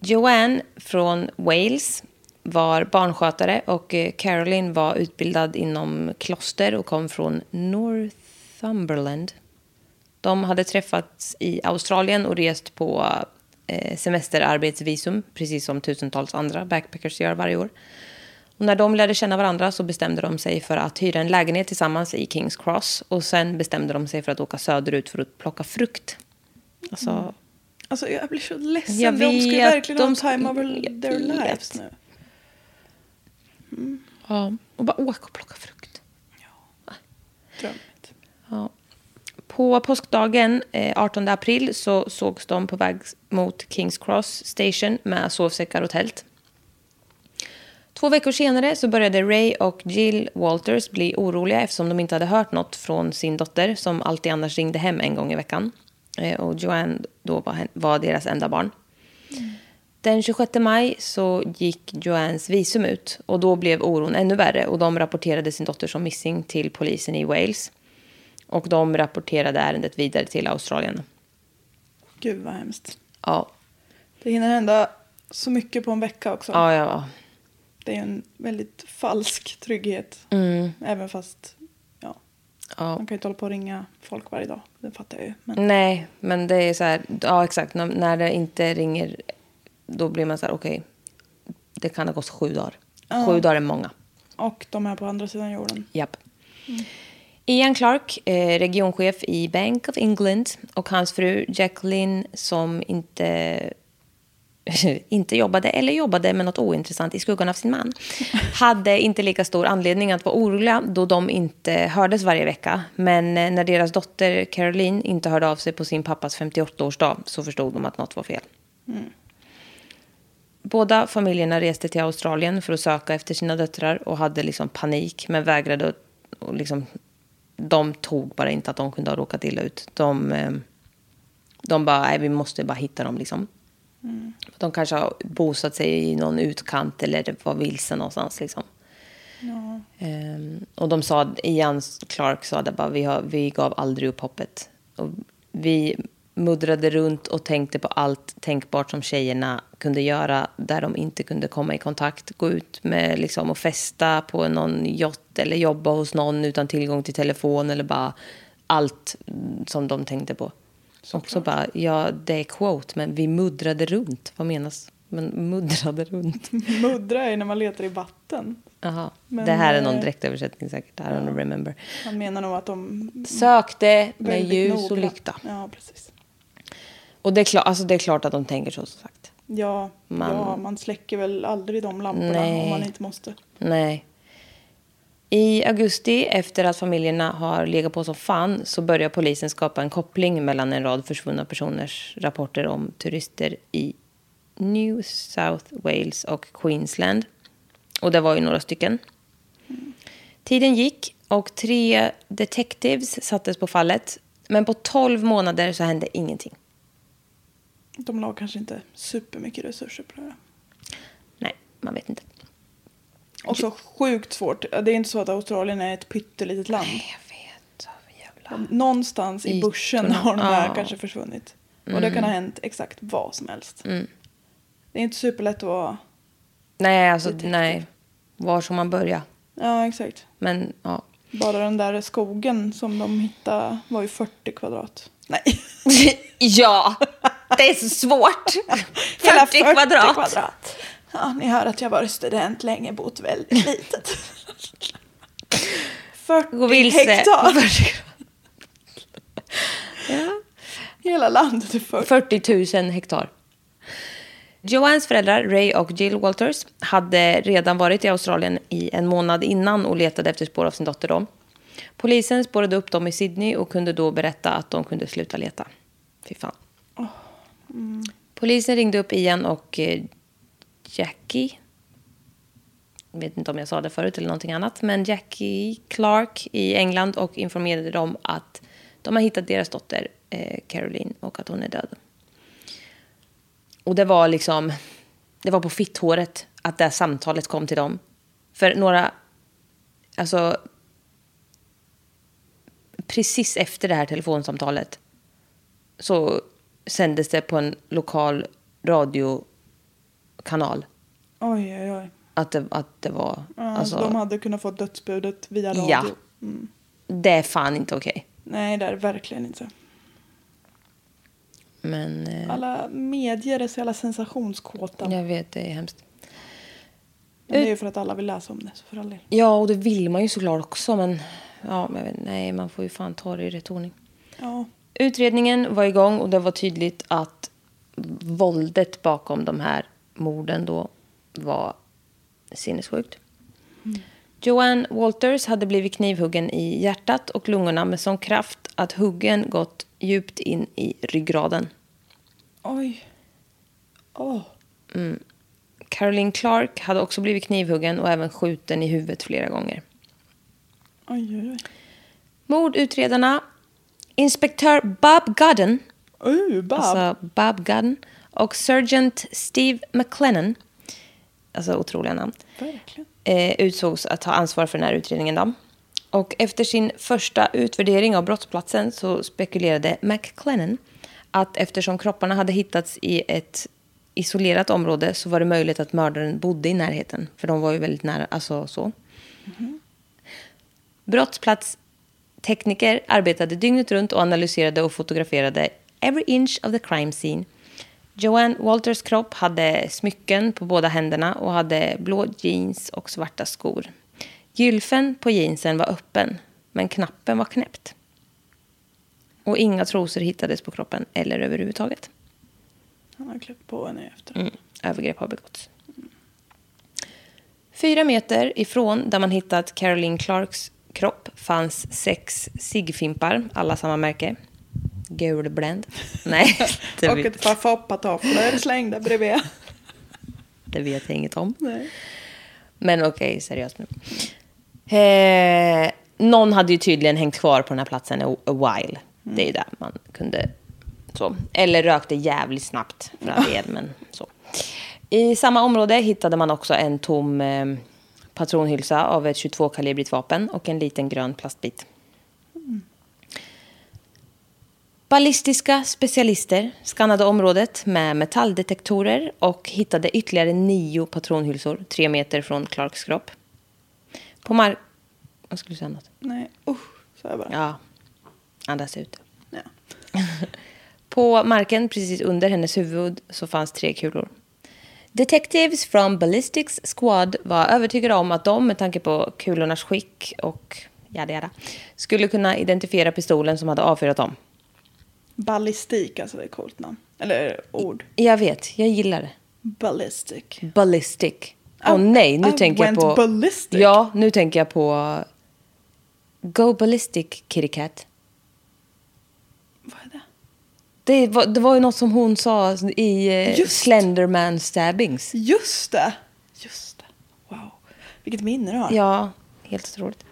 Speaker 1: Joanne från Wales var barnskötare och eh, Caroline var utbildad inom kloster och kom från Northumberland. De hade träffats i Australien och rest på eh, semesterarbetsvisum, precis som tusentals andra backpackers gör varje år. Och när de lärde känna varandra så bestämde de sig för att hyra en lägenhet tillsammans i Kings Cross och sen bestämde de sig för att åka söderut för att plocka frukt. Alltså,
Speaker 2: Alltså jag blir så ledsen.
Speaker 1: Jag
Speaker 2: de ska ju
Speaker 1: vet,
Speaker 2: verkligen ha
Speaker 1: de
Speaker 2: en
Speaker 1: ska-
Speaker 2: time of
Speaker 1: jag
Speaker 2: their
Speaker 1: vet.
Speaker 2: lives nu.
Speaker 1: ja. och bara åka och plocka frukt.
Speaker 2: Drömmigt.
Speaker 1: Ja. På påskdagen, eh, 18 april, så sågs de på väg mot Kings Cross Station med sovsäckar och tält. Två veckor senare så började Ray och Jill Walters bli oroliga eftersom de inte hade hört något från sin dotter som alltid annars ringde hem en gång i veckan. Eh, Och Joanne då var, hen- var deras enda barn. Den 26 maj så gick Joannes visum ut och då blev oron ännu värre och de rapporterade sin dotter som missing till polisen i Wales. Och de rapporterade ärendet vidare till Australien.
Speaker 2: Gud vad hemskt.
Speaker 1: Ja,
Speaker 2: Det hinner hända så mycket på en vecka också.
Speaker 1: Ja, ja.
Speaker 2: Det är en väldigt falsk trygghet. Även fast ja,
Speaker 1: Mm. ja. Mm.
Speaker 2: man kan ju inte hålla på och ringa folk varje dag. Det fattar jag ju. Men
Speaker 1: Nej, men det är så här, ja exakt, när, när det inte ringer då blir man så här, okej, det kan ha gått sju dagar.
Speaker 2: Ja.
Speaker 1: Sju dagar är många.
Speaker 2: Och de här på andra sidan jorden.
Speaker 1: Japp. Ian Clark, eh, regionchef i Bank of England och hans fru Jacqueline som inte, inte jobbade eller jobbade med något ointressant i skuggan av sin man hade inte lika stor anledning att vara oroliga då de inte hördes varje vecka. Men eh, när deras dotter Caroline inte hörde av sig på sin pappas 58-årsdag så förstod de att något var fel. Båda familjerna reste till Australien för att söka efter sina döttrar och hade liksom panik men vägrade att- och liksom, de tog bara inte att de kunde ha råkat illa ut. De, eh, de bara, nej vi måste bara hitta dem liksom. De kanske har bosatt sig i någon utkant eller var vilse någonstans liksom.
Speaker 2: Ja.
Speaker 1: Ehm, och de sa, Ian Clark sa det bara, vi, har, vi gav aldrig upp hoppet. Och vi muddrade runt och tänkte på allt tänkbart som tjejerna kunde göra där de inte kunde komma i kontakt. Gå ut med liksom, och festa på någon yacht eller jobba hos någon utan tillgång till telefon eller bara allt mm, som de tänkte på. och så bara, ja det är quote, men vi muddrade runt. Vad menas? Men muddrade runt.
Speaker 2: Muddra är när man letar i vatten.
Speaker 1: Jaha,
Speaker 2: Men,
Speaker 1: det här är någon
Speaker 2: eh,
Speaker 1: direktöversättning säkert. I don't remember.
Speaker 2: Han menar nog att de...
Speaker 1: Sökte med
Speaker 2: väldigt
Speaker 1: ljus och
Speaker 2: noga.
Speaker 1: lykta.
Speaker 2: Ja, precis.
Speaker 1: Och det är, klart, alltså det är klart att de tänker så, som sagt.
Speaker 2: Ja man...
Speaker 1: Man-
Speaker 2: ja, man släcker väl aldrig de lamporna
Speaker 1: Nej.
Speaker 2: om man inte måste.
Speaker 1: Nej. I augusti, efter att familjerna har legat på som fan, så börjar polisen skapa en koppling mellan en rad försvunna personers rapporter om turister i New South Wales och Queensland. Och det var ju några stycken. Tiden gick och tre detectives sattes på fallet. Men på 12 månader så hände ingenting.
Speaker 2: De la kanske inte supermycket resurser på det här.
Speaker 1: Nej, man vet inte.
Speaker 2: Och så sjukt svårt. Det är inte så att Australien är ett pyttelitet land.
Speaker 1: Nej, jag vet. Jävla...
Speaker 2: Någonstans i
Speaker 1: Ytorna.
Speaker 2: bushen har de här
Speaker 1: Ja. Mm.
Speaker 2: kanske försvunnit. Och det kan ha hänt exakt vad som helst. Det är inte superlätt att vara...
Speaker 1: Nej, alltså nej. Var ska man börja?
Speaker 2: Ja, exakt.
Speaker 1: Men ja.
Speaker 2: Bara den där skogen som de hittade var ju 40 kvadrat. Nej,
Speaker 1: ja, det är så svårt.
Speaker 2: hela
Speaker 1: 40 kvadrat.
Speaker 2: kvadrat. Ja, ni hör att jag varit student länge, bott väldigt litet. 40
Speaker 1: Gå vilse.
Speaker 2: hektar.
Speaker 1: Ja.
Speaker 2: Hela landet är 40.
Speaker 1: 40 000 hektar. Joannes föräldrar, Ray och Jill Walters, hade redan varit i Australien i en månad innan och letade efter spår av sin dotter. Då. Polisen spårade upp dem i Sydney och kunde då berätta att de kunde sluta leta. Fy fan. Polisen ringde upp Ian och eh, Jackie. Jag vet inte om jag sa det förut eller någonting annat. Men Jackie Clark i England och informerade dem att de har hittat deras dotter eh, Caroline och att hon är död. Och det var liksom, det var på fitthåret att det här samtalet kom till dem. För några, alltså, precis efter det här telefonsamtalet så sändes det på en lokal radiokanal
Speaker 2: Oj, oj, oj.
Speaker 1: att det, att det var,
Speaker 2: Ja,
Speaker 1: alltså,
Speaker 2: så de hade kunnat få dödsbudet via radio.
Speaker 1: Ja.
Speaker 2: Mm.
Speaker 1: det är fan inte okej.
Speaker 2: Nej, det är det verkligen inte.
Speaker 1: Men eh,
Speaker 2: Alla medier är så jävla sensationskåta.
Speaker 1: jag vet, det är hemskt.
Speaker 2: Men det är ju för att alla vill läsa om det. Så för all del.
Speaker 1: Ja, och det vill man ju såklart också, men ja, men jag vet, nej, man får ju fan ta det i rätt ordning.
Speaker 2: Ja.
Speaker 1: Utredningen var igång och det var tydligt att våldet bakom de här morden då var sinnessjukt.
Speaker 2: Mm.
Speaker 1: Joanne Walters hade blivit knivhuggen i hjärtat och lungorna med sån kraft att huggen gått djupt in i ryggraden.
Speaker 2: Oj. Åh.
Speaker 1: Caroline Clark hade också blivit knivhuggen och även skjuten i huvudet flera gånger.
Speaker 2: Oj, oj, oj.
Speaker 1: Mordutredarna, inspektör Bob Godden
Speaker 2: Uh, Bab.
Speaker 1: Alltså Bob Gunn. Och Sergeant Steve McLennan. Alltså otroliga namn.
Speaker 2: Verkligen.
Speaker 1: Eh, utsågs att ta ansvar för den här utredningen då. Och efter sin första utvärdering av brottsplatsen så spekulerade McLennan att eftersom kropparna hade hittats i ett isolerat område så var det möjligt att mördaren bodde i närheten. För de var ju väldigt nära, alltså så. Brottsplatstekniker arbetade dygnet runt och analyserade och fotograferade every inch of the crime scene. Joanne Walters kropp hade smycken på båda händerna och hade blå jeans och svarta skor. Gylfen på jeansen var öppen, men knappen var knäppt. Och inga trosor hittades på kroppen eller överhuvudtaget.
Speaker 2: Han har klippt på henne efter.
Speaker 1: Mm. Övergrepp har begåtts. Fyra meter ifrån där man hittat Caroline Clarks kropp fanns sex sigfimpar, alla samma märke. Gulbländ. Nej, det
Speaker 2: Och
Speaker 1: vet,
Speaker 2: ett par foppatofflor slängda bredvid.
Speaker 1: det vet jag inget om.
Speaker 2: Nej.
Speaker 1: Men okej, seriöst nu. Eh, någon hade ju tydligen hängt kvar på den här platsen a, a while. Det är ju där man kunde... Så. Eller rökte jävligt snabbt för all del, men så. I samma område hittade man också en tom eh, patronhylsa av ett 22-kalibrigt vapen och en liten grön plastbit. Ballistiska specialister skannade området med metalldetektorer och hittade ytterligare nio patronhylsor tre meter från Clarks kropp. På mark... Jag skulle säga något.
Speaker 2: Nej, usch, sa jag bara.
Speaker 1: Ja. Andas ut.
Speaker 2: Ja.
Speaker 1: På marken precis under hennes huvud så fanns tre kulor. Detectives from Ballistics Squad var övertygade om att de, med tanke på kulornas skick och jada jada, skulle kunna identifiera pistolen som hade avfyrat dem.
Speaker 2: Ballistik, alltså det är ett coolt namn. Eller ord.
Speaker 1: Jag vet, jag gillar det.
Speaker 2: Ballistic.
Speaker 1: Ballistic. Åh
Speaker 2: I-
Speaker 1: nej, nu
Speaker 2: Oh, I
Speaker 1: tänker jag
Speaker 2: went
Speaker 1: på...
Speaker 2: ballistic.
Speaker 1: Ja, nu tänker jag på... uh, Go Ballistic Kitty Cat.
Speaker 2: Vad är det?
Speaker 1: Det var, det var ju något som hon sa i eh,
Speaker 2: Just.
Speaker 1: Slenderman Stabbings.
Speaker 2: Just det! Just det. Wow. Vilket minne du har.
Speaker 1: Ja, helt otroligt.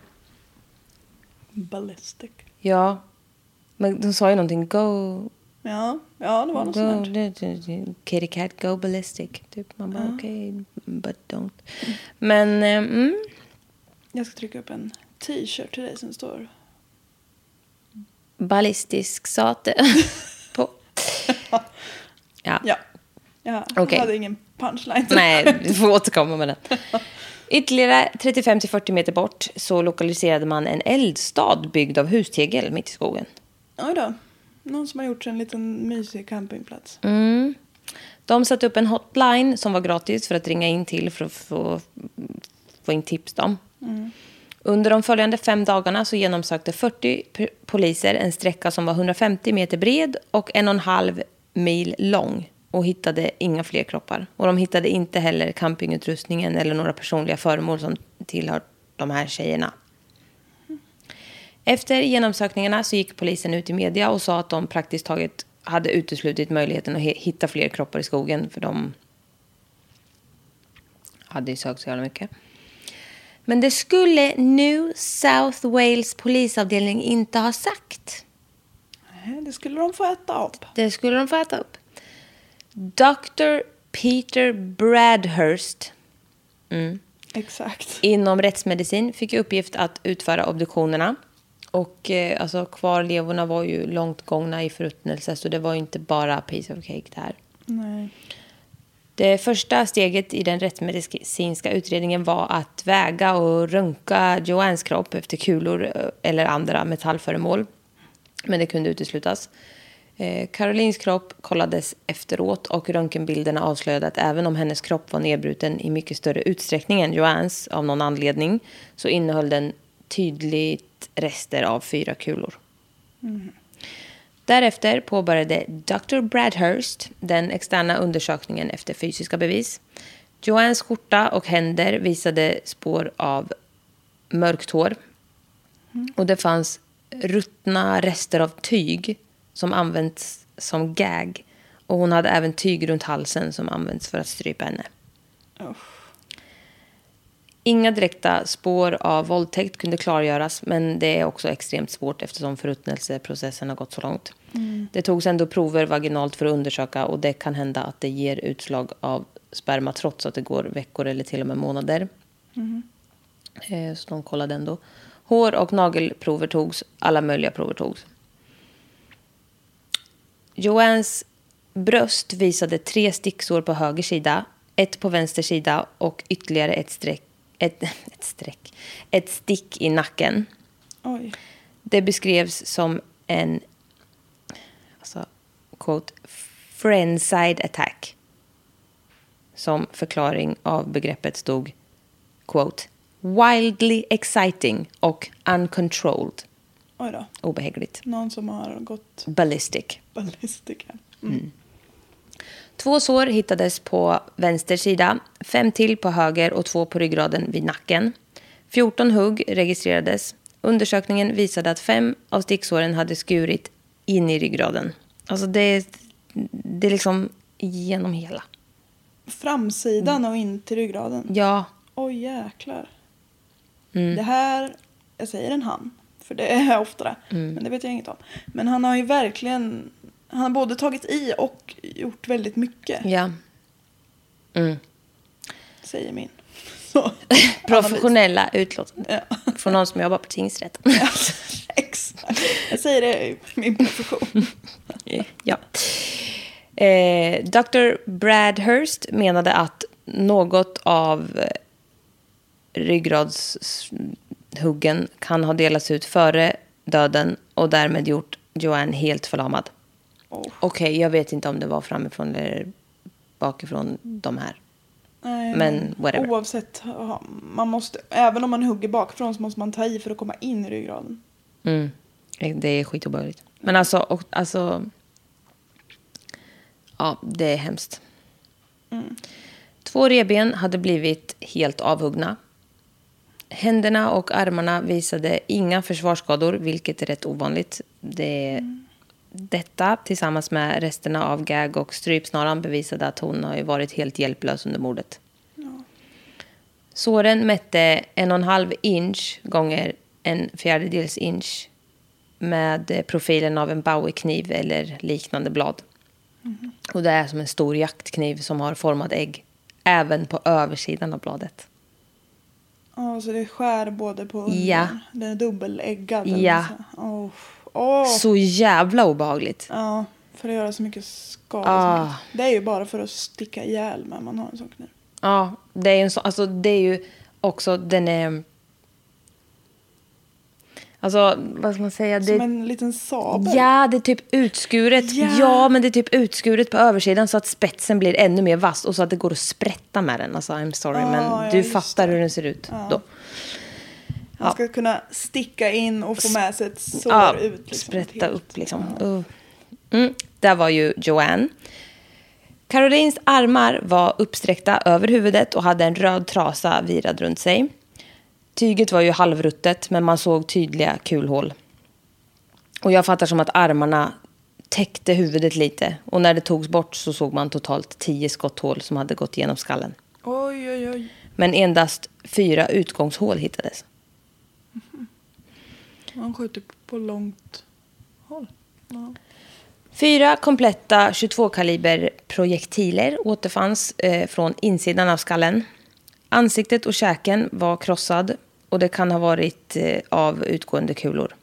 Speaker 2: Ballistic.
Speaker 1: Ja. Men de sa ju någonting. Go...
Speaker 2: Ja, ja det var något
Speaker 1: go
Speaker 2: sånt där.
Speaker 1: kitty cat, go ballistic. Typ. Man bara okej, but don't. Men... eh, Mm,
Speaker 2: Jag ska trycka upp en t-shirt till dig som står...
Speaker 1: ballistisk sate. på. Ja.
Speaker 2: Ja. ja.
Speaker 1: Okej.
Speaker 2: Jag hade ingen punchline.
Speaker 1: Nej, du får återkomma med den. Ytterligare 35-40 meter bort så lokaliserade man en eldstad byggd av hustegel mitt i skogen.
Speaker 2: Oj då. Någon som har gjort en liten mysig campingplats.
Speaker 1: Mm. De satte upp en hotline som var gratis för att ringa in till för att få, få in tips. Då. Under de följande fem dagarna så genomsökte 40 p- poliser en sträcka som var 150 meter bred och en och en halv mil lång och hittade inga fler kroppar. Och de hittade inte heller campingutrustningen eller några personliga föremål som tillhör de här tjejerna. Efter genomsökningarna så gick polisen ut i media och sa att de praktiskt taget hade uteslutit möjligheten att he- hitta fler kroppar i skogen för de hade ju sökt så jävla mycket. Men det skulle New South Wales polisavdelning inte ha sagt.
Speaker 2: Nej, det skulle de få äta upp.
Speaker 1: Det skulle de få äta upp. Dr. Peter Bradhurst mm,
Speaker 2: Exakt.
Speaker 1: inom rättsmedicin fick i uppgift att utföra obduktionerna. Och eh, alltså, kvarlevorna var ju långt gångna i förruttnelse så det var ju inte bara piece of cake där.
Speaker 2: Nej.
Speaker 1: Det första steget i den rättsmedicinska utredningen var att väga och röntga Joannes kropp efter kulor eh, eller andra metallföremål. Men det kunde uteslutas. Eh, Carolines kropp kollades efteråt och röntgenbilderna avslöjade att även om hennes kropp var nedbruten i mycket större utsträckning än Joannes av någon anledning så innehöll den tydligt rester av fyra kulor. Därefter påbörjade Dr. Bradhurst den externa undersökningen efter fysiska bevis. Joannes skjorta och händer visade spår av mörkt hår. Och det fanns ruttna rester av tyg som använts som gag. Och hon hade även tyg runt halsen som använts för att strypa henne.
Speaker 2: Usch.
Speaker 1: Inga direkta spår av våldtäkt kunde klargöras men det är också extremt svårt eftersom förruttnelseprocessen har gått så långt. Det togs ändå prover vaginalt för att undersöka och det kan hända att det ger utslag av sperma trots att det går veckor eller till och med månader. Eh, Så de kollade ändå. Hår och nagelprover togs, alla möjliga prover togs. Joannes bröst visade tre sticksår på höger sida, ett på vänster sida och ytterligare ett, streck, ett, ett, streck, ett stick i nacken.
Speaker 2: Oj.
Speaker 1: Det beskrevs som en alltså, quote, friendside attack. Som förklaring av begreppet stod quote, wildly exciting och uncontrolled.
Speaker 2: Oj då.
Speaker 1: Obehagligt.
Speaker 2: Någon som har gått
Speaker 1: Ballistic.
Speaker 2: ballistik här.
Speaker 1: Två sår hittades på vänster sida, fem till på höger och två på ryggraden vid nacken. 14 hugg registrerades. Undersökningen visade att fem av sticksåren hade skurit in i ryggraden. Alltså det, det är liksom genom hela.
Speaker 2: Framsidan och in till ryggraden.
Speaker 1: Ja,
Speaker 2: Oj jäklar. Det här, jag säger en han, för det är jag oftare, men det vet jag inget om. Men han har ju verkligen, han har både tagit i och gjort väldigt mycket,
Speaker 1: ja. Mm.
Speaker 2: säger min. Så,
Speaker 1: Professionella utlåtanden
Speaker 2: analys. Ja.
Speaker 1: från någon som jobbar på tingsrätten.
Speaker 2: Exakt. Jag säger det i min profession.
Speaker 1: ja. Eh, Dr. Bradhurst menade att något av eh, ryggradshuggen kan ha delats ut före döden och därmed gjort Joanne helt förlamad.
Speaker 2: Oh,
Speaker 1: Okej, jag vet inte om det var framifrån eller bakifrån de här.
Speaker 2: nej,
Speaker 1: Men whatever.
Speaker 2: Oavsett, ja, man måste, även om man hugger bakifrån så måste man ta i för att komma in i ryggraden.
Speaker 1: Mm. Det är skitobehagligt. Men alltså, och, alltså... Ja, det är hemskt. Två reben hade blivit helt avhuggna. Händerna och armarna visade inga försvarsskador, vilket är rätt ovanligt. Det, Detta tillsammans med resterna av gag och strypsnaran bevisade att hon har ju varit helt hjälplös under mordet. Såren mätte en och en halv inch gånger en fjärdedels inch med eh, profilen av en Bowie-kniv eller liknande blad.
Speaker 2: Mhm.
Speaker 1: Och det är som en stor jaktkniv som har format ägg även på översidan av bladet.
Speaker 2: Ja, så det skär både på
Speaker 1: Ja.
Speaker 2: undern. Den är dubbeläggad. eller
Speaker 1: Ja.
Speaker 2: så. Oh. Oh.
Speaker 1: Så jävla obehagligt.
Speaker 2: Ja, för att göra så mycket skada
Speaker 1: Ah.
Speaker 2: som möjligt. Det är ju bara för att sticka ihjäl med man har en sån kniv.
Speaker 1: Ja, det är ju en så, alltså det är ju också den är... Alltså, vad ska man säga? Det,
Speaker 2: Som en liten sabel.
Speaker 1: Ja, det är typ utskuret.
Speaker 2: Ja.
Speaker 1: Ja, men det är typ utskuret på översidan så att spetsen blir ännu mer vass och så att det går att sprätta med den. Alltså, I'm sorry,
Speaker 2: Ah, ja,
Speaker 1: men du
Speaker 2: just
Speaker 1: fattar
Speaker 2: det.
Speaker 1: hur den ser ut
Speaker 2: Ja.
Speaker 1: då.
Speaker 2: Man ska kunna sticka in och få med sig ett sår
Speaker 1: Ja,
Speaker 2: ut. liksom.
Speaker 1: sprätta
Speaker 2: Helt-
Speaker 1: upp liksom. Uh. Mm. Där var ju Joanne. Carolines armar var uppsträckta över huvudet och hade en röd trasa virad runt sig. Tyget var ju halvruttet, men man såg tydliga kulhål. Och jag fattar som att armarna täckte huvudet lite. Och när det togs bort så såg man totalt tio skotthål som hade gått igenom skallen.
Speaker 2: Oj, oj, oj.
Speaker 1: Men endast fyra utgångshål hittades.
Speaker 2: Man skjuter på långt håll. Ja.
Speaker 1: Fyra kompletta 22-kaliber projektiler återfanns eh, från insidan av skallen. Ansiktet och käken var krossad och det kan ha varit eh, av utgående kulor.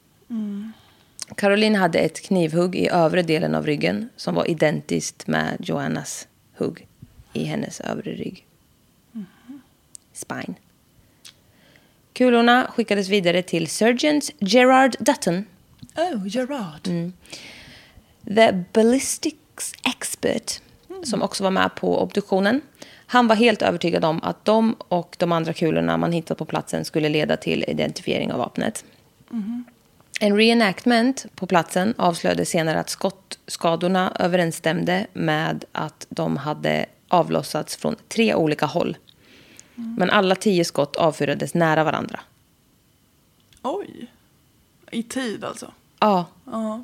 Speaker 1: Caroline hade ett knivhugg i övre delen av ryggen som var identiskt med Joannas hugg i hennes övre rygg. Spine. Kulorna skickades vidare till Surgeons Gerard Dutton
Speaker 2: Oh, Gerard.
Speaker 1: Mm. The Ballistics Expert, som också var med på obduktionen. Han var helt övertygad om att de och de andra kulorna man hittat på platsen skulle leda till identifiering av vapnet. En reenactment på platsen avslöjade senare att skottskadorna överensstämde med att de hade avlossats från tre olika håll. Men alla tio skott avfyrades nära varandra.
Speaker 2: Oj. I tid alltså.
Speaker 1: Ja,
Speaker 2: Ja.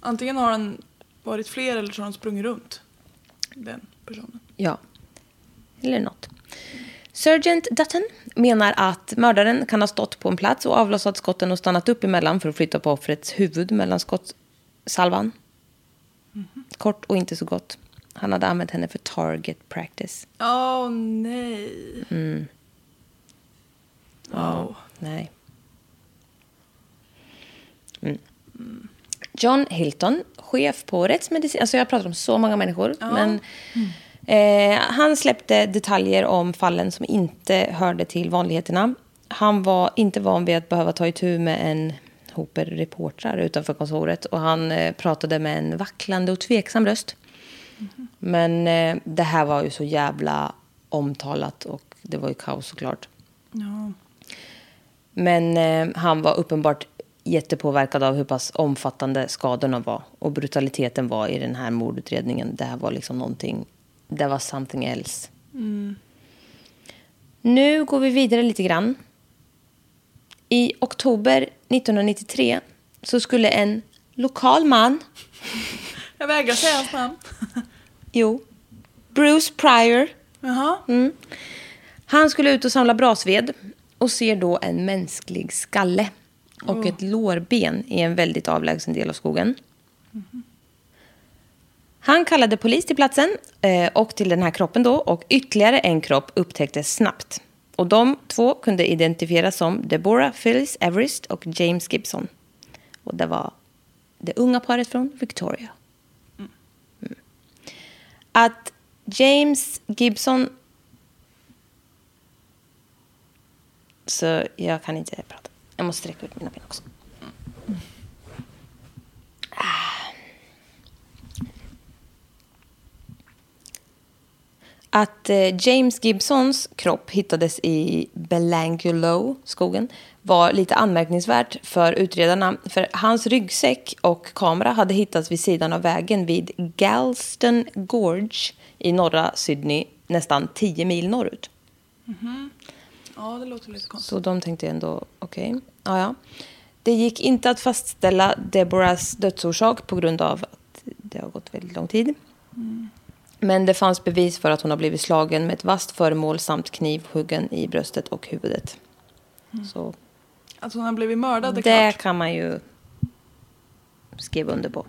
Speaker 2: Antingen har den varit fler eller så har den sprungit runt. Den personen.
Speaker 1: Ja. Eller något. Sergeant Dutton menar att mördaren kan ha stått på en plats och avlossat skotten och stannat upp emellan för att flytta på offrets huvud mellan skottsalvan. Kort och inte så gott. Han hade använt henne för target practice.
Speaker 2: Åh nej.
Speaker 1: Mm.
Speaker 2: Wow.
Speaker 1: Nej. Mm. John Hilton, chef på rättsmedicin... Alltså jag pratar om så många människor.
Speaker 2: Ja.
Speaker 1: Men, eh, han släppte detaljer om fallen som inte hörde till vanligheterna. Han var inte van vid att behöva ta itu med en hoper reportrar utanför kontoret. Och han eh, pratade med en vacklande och tveksam röst. Men eh, det här var ju så jävla omtalat och det var ju kaos såklart.
Speaker 2: Ja.
Speaker 1: Men eh, han var uppenbart jättepåverkad av hur pass omfattande skadorna var och brutaliteten var i den här mordutredningen. Det här var liksom någonting, det var something else. Nu går vi vidare lite grann. I oktober 1993 så skulle en lokal man,
Speaker 2: Jag vägrar säga hans namn.
Speaker 1: jo, Bruce Pryor,
Speaker 2: Jaha.
Speaker 1: Mm. Han skulle ut och samla brasved och ser då en mänsklig skalle och ett lårben i en väldigt avlägsen del av skogen. Han kallade polis till platsen eh, och till den här kroppen då och ytterligare en kropp upptäcktes snabbt. Och de två kunde identifieras som Deborah Phyllis Everest och James Gibson. Och det var det unga paret från Victoria Mm. att James Gibson... Så jag kan inte prata. Jag måste sträcka ut mina ben också. Ah. Att eh, James Gibsons kropp hittades i Belangulo, skogen, var lite anmärkningsvärt för utredarna. För hans ryggsäck och kamera hade hittats vid sidan av vägen vid Galston Gorge i norra Sydney, nästan 10 mil norrut.
Speaker 2: Ja, det låter lite konstigt.
Speaker 1: Så de tänkte ändå, okej, ja, ja. Det gick inte att fastställa Deborahs dödsorsak på grund av att det har gått väldigt lång tid. Men det fanns bevis för att hon har blivit slagen med ett vasst föremål samt knivhuggen i bröstet och huvudet. Så
Speaker 2: Att hon har blivit mördad är
Speaker 1: det
Speaker 2: klart.
Speaker 1: kan man ju skriva under på.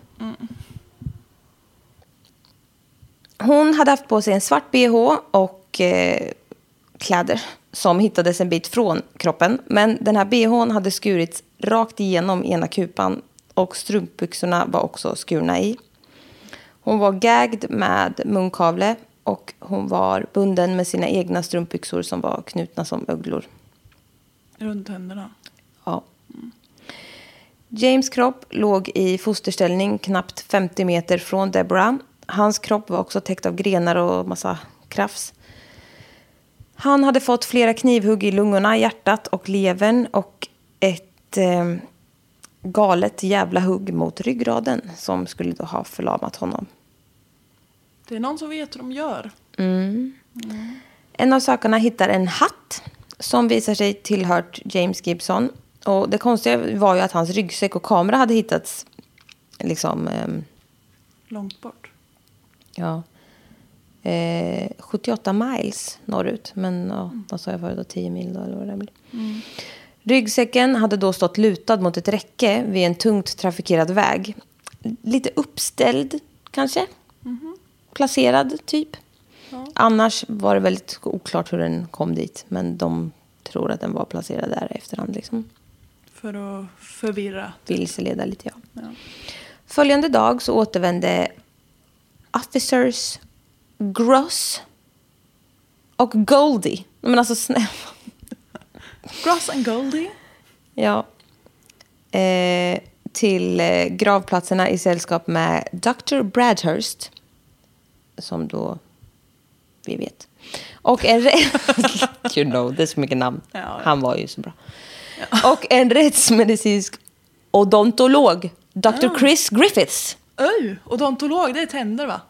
Speaker 1: Hon hade haft på sig en svart bh och eh, kläder som hittades en bit från kroppen. Men den här bhn hade skurits rakt igenom ena kupan och strumpbyxorna var också skurna i. Hon var gagged med munkavle och hon var bunden med sina egna strumpbyxor som var knutna som öglor.
Speaker 2: Runt händerna.
Speaker 1: Ja. James kropp låg i fosterställning knappt 50 meter från Deborah. Hans kropp var också täckt av grenar och massa krafs. Han hade fått flera knivhugg i lungorna, hjärtat och levern och ett eh, galet jävla hugg mot ryggraden som skulle då ha förlamat honom.
Speaker 2: Det är någon som vet hur de gör.
Speaker 1: Mm. En av sökarna hittar en hatt som visar sig tillhört James Gibson. Och det konstiga var ju att hans ryggsäck och kamera hade hittats liksom, ehm,
Speaker 2: Långt bort.
Speaker 1: ja, eh, 78 miles norrut. Men ja, vad sa jag förut, då? 10 mil då, eller vad det blir. Ryggsäcken hade då stått lutad mot ett räcke vid en tungt trafikerad väg. Lite uppställd kanske. Placerad typ.
Speaker 2: Ja.
Speaker 1: Annars var det väldigt oklart hur den kom dit. Men de tror att den var placerad där i efterhand. Liksom.
Speaker 2: För att förvirra.
Speaker 1: Vilseleda lite ja.
Speaker 2: Ja.
Speaker 1: Följande dag så återvände officers Gross och Goldie. Men alltså snälla.
Speaker 2: Gross and Goldie.
Speaker 1: Ja. Eh, till eh, gravplatserna i sällskap med Dr. Bradhurst. Som då vi vet. Och en... rä- you know, det är så mycket namn.
Speaker 2: Ja, ja.
Speaker 1: Han var ju så bra. Och en rättsmedicinsk odontolog, Dr. Chris Griffiths.
Speaker 2: Öj, odontolog, det är tänder va?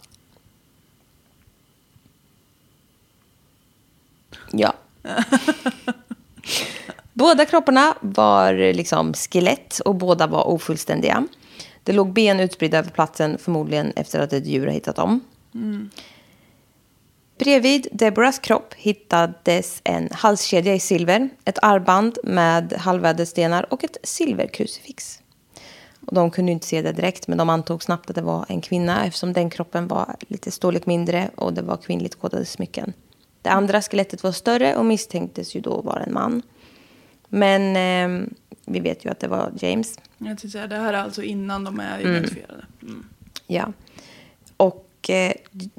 Speaker 1: Ja. båda kropparna var liksom skelett och båda var ofullständiga. Det låg ben utspridda över platsen, förmodligen efter att ett djur har hittat dem. Bredvid Deborahs kropp hittades en halskedja i silver, ett armband med halvädelstenar och ett silverkrucifix. Och de kunde ju inte se det direkt, men de antog snabbt att det var en kvinna eftersom den kroppen var lite storlek mindre och det var kvinnligt kodade smycken. Det andra skelettet var större och misstänktes ju då vara en man. Men ehm, vi vet ju att det var James.
Speaker 2: Jag tänkte säga, det här är alltså innan de är identifierade. Mm.
Speaker 1: Ja. Och eh, J-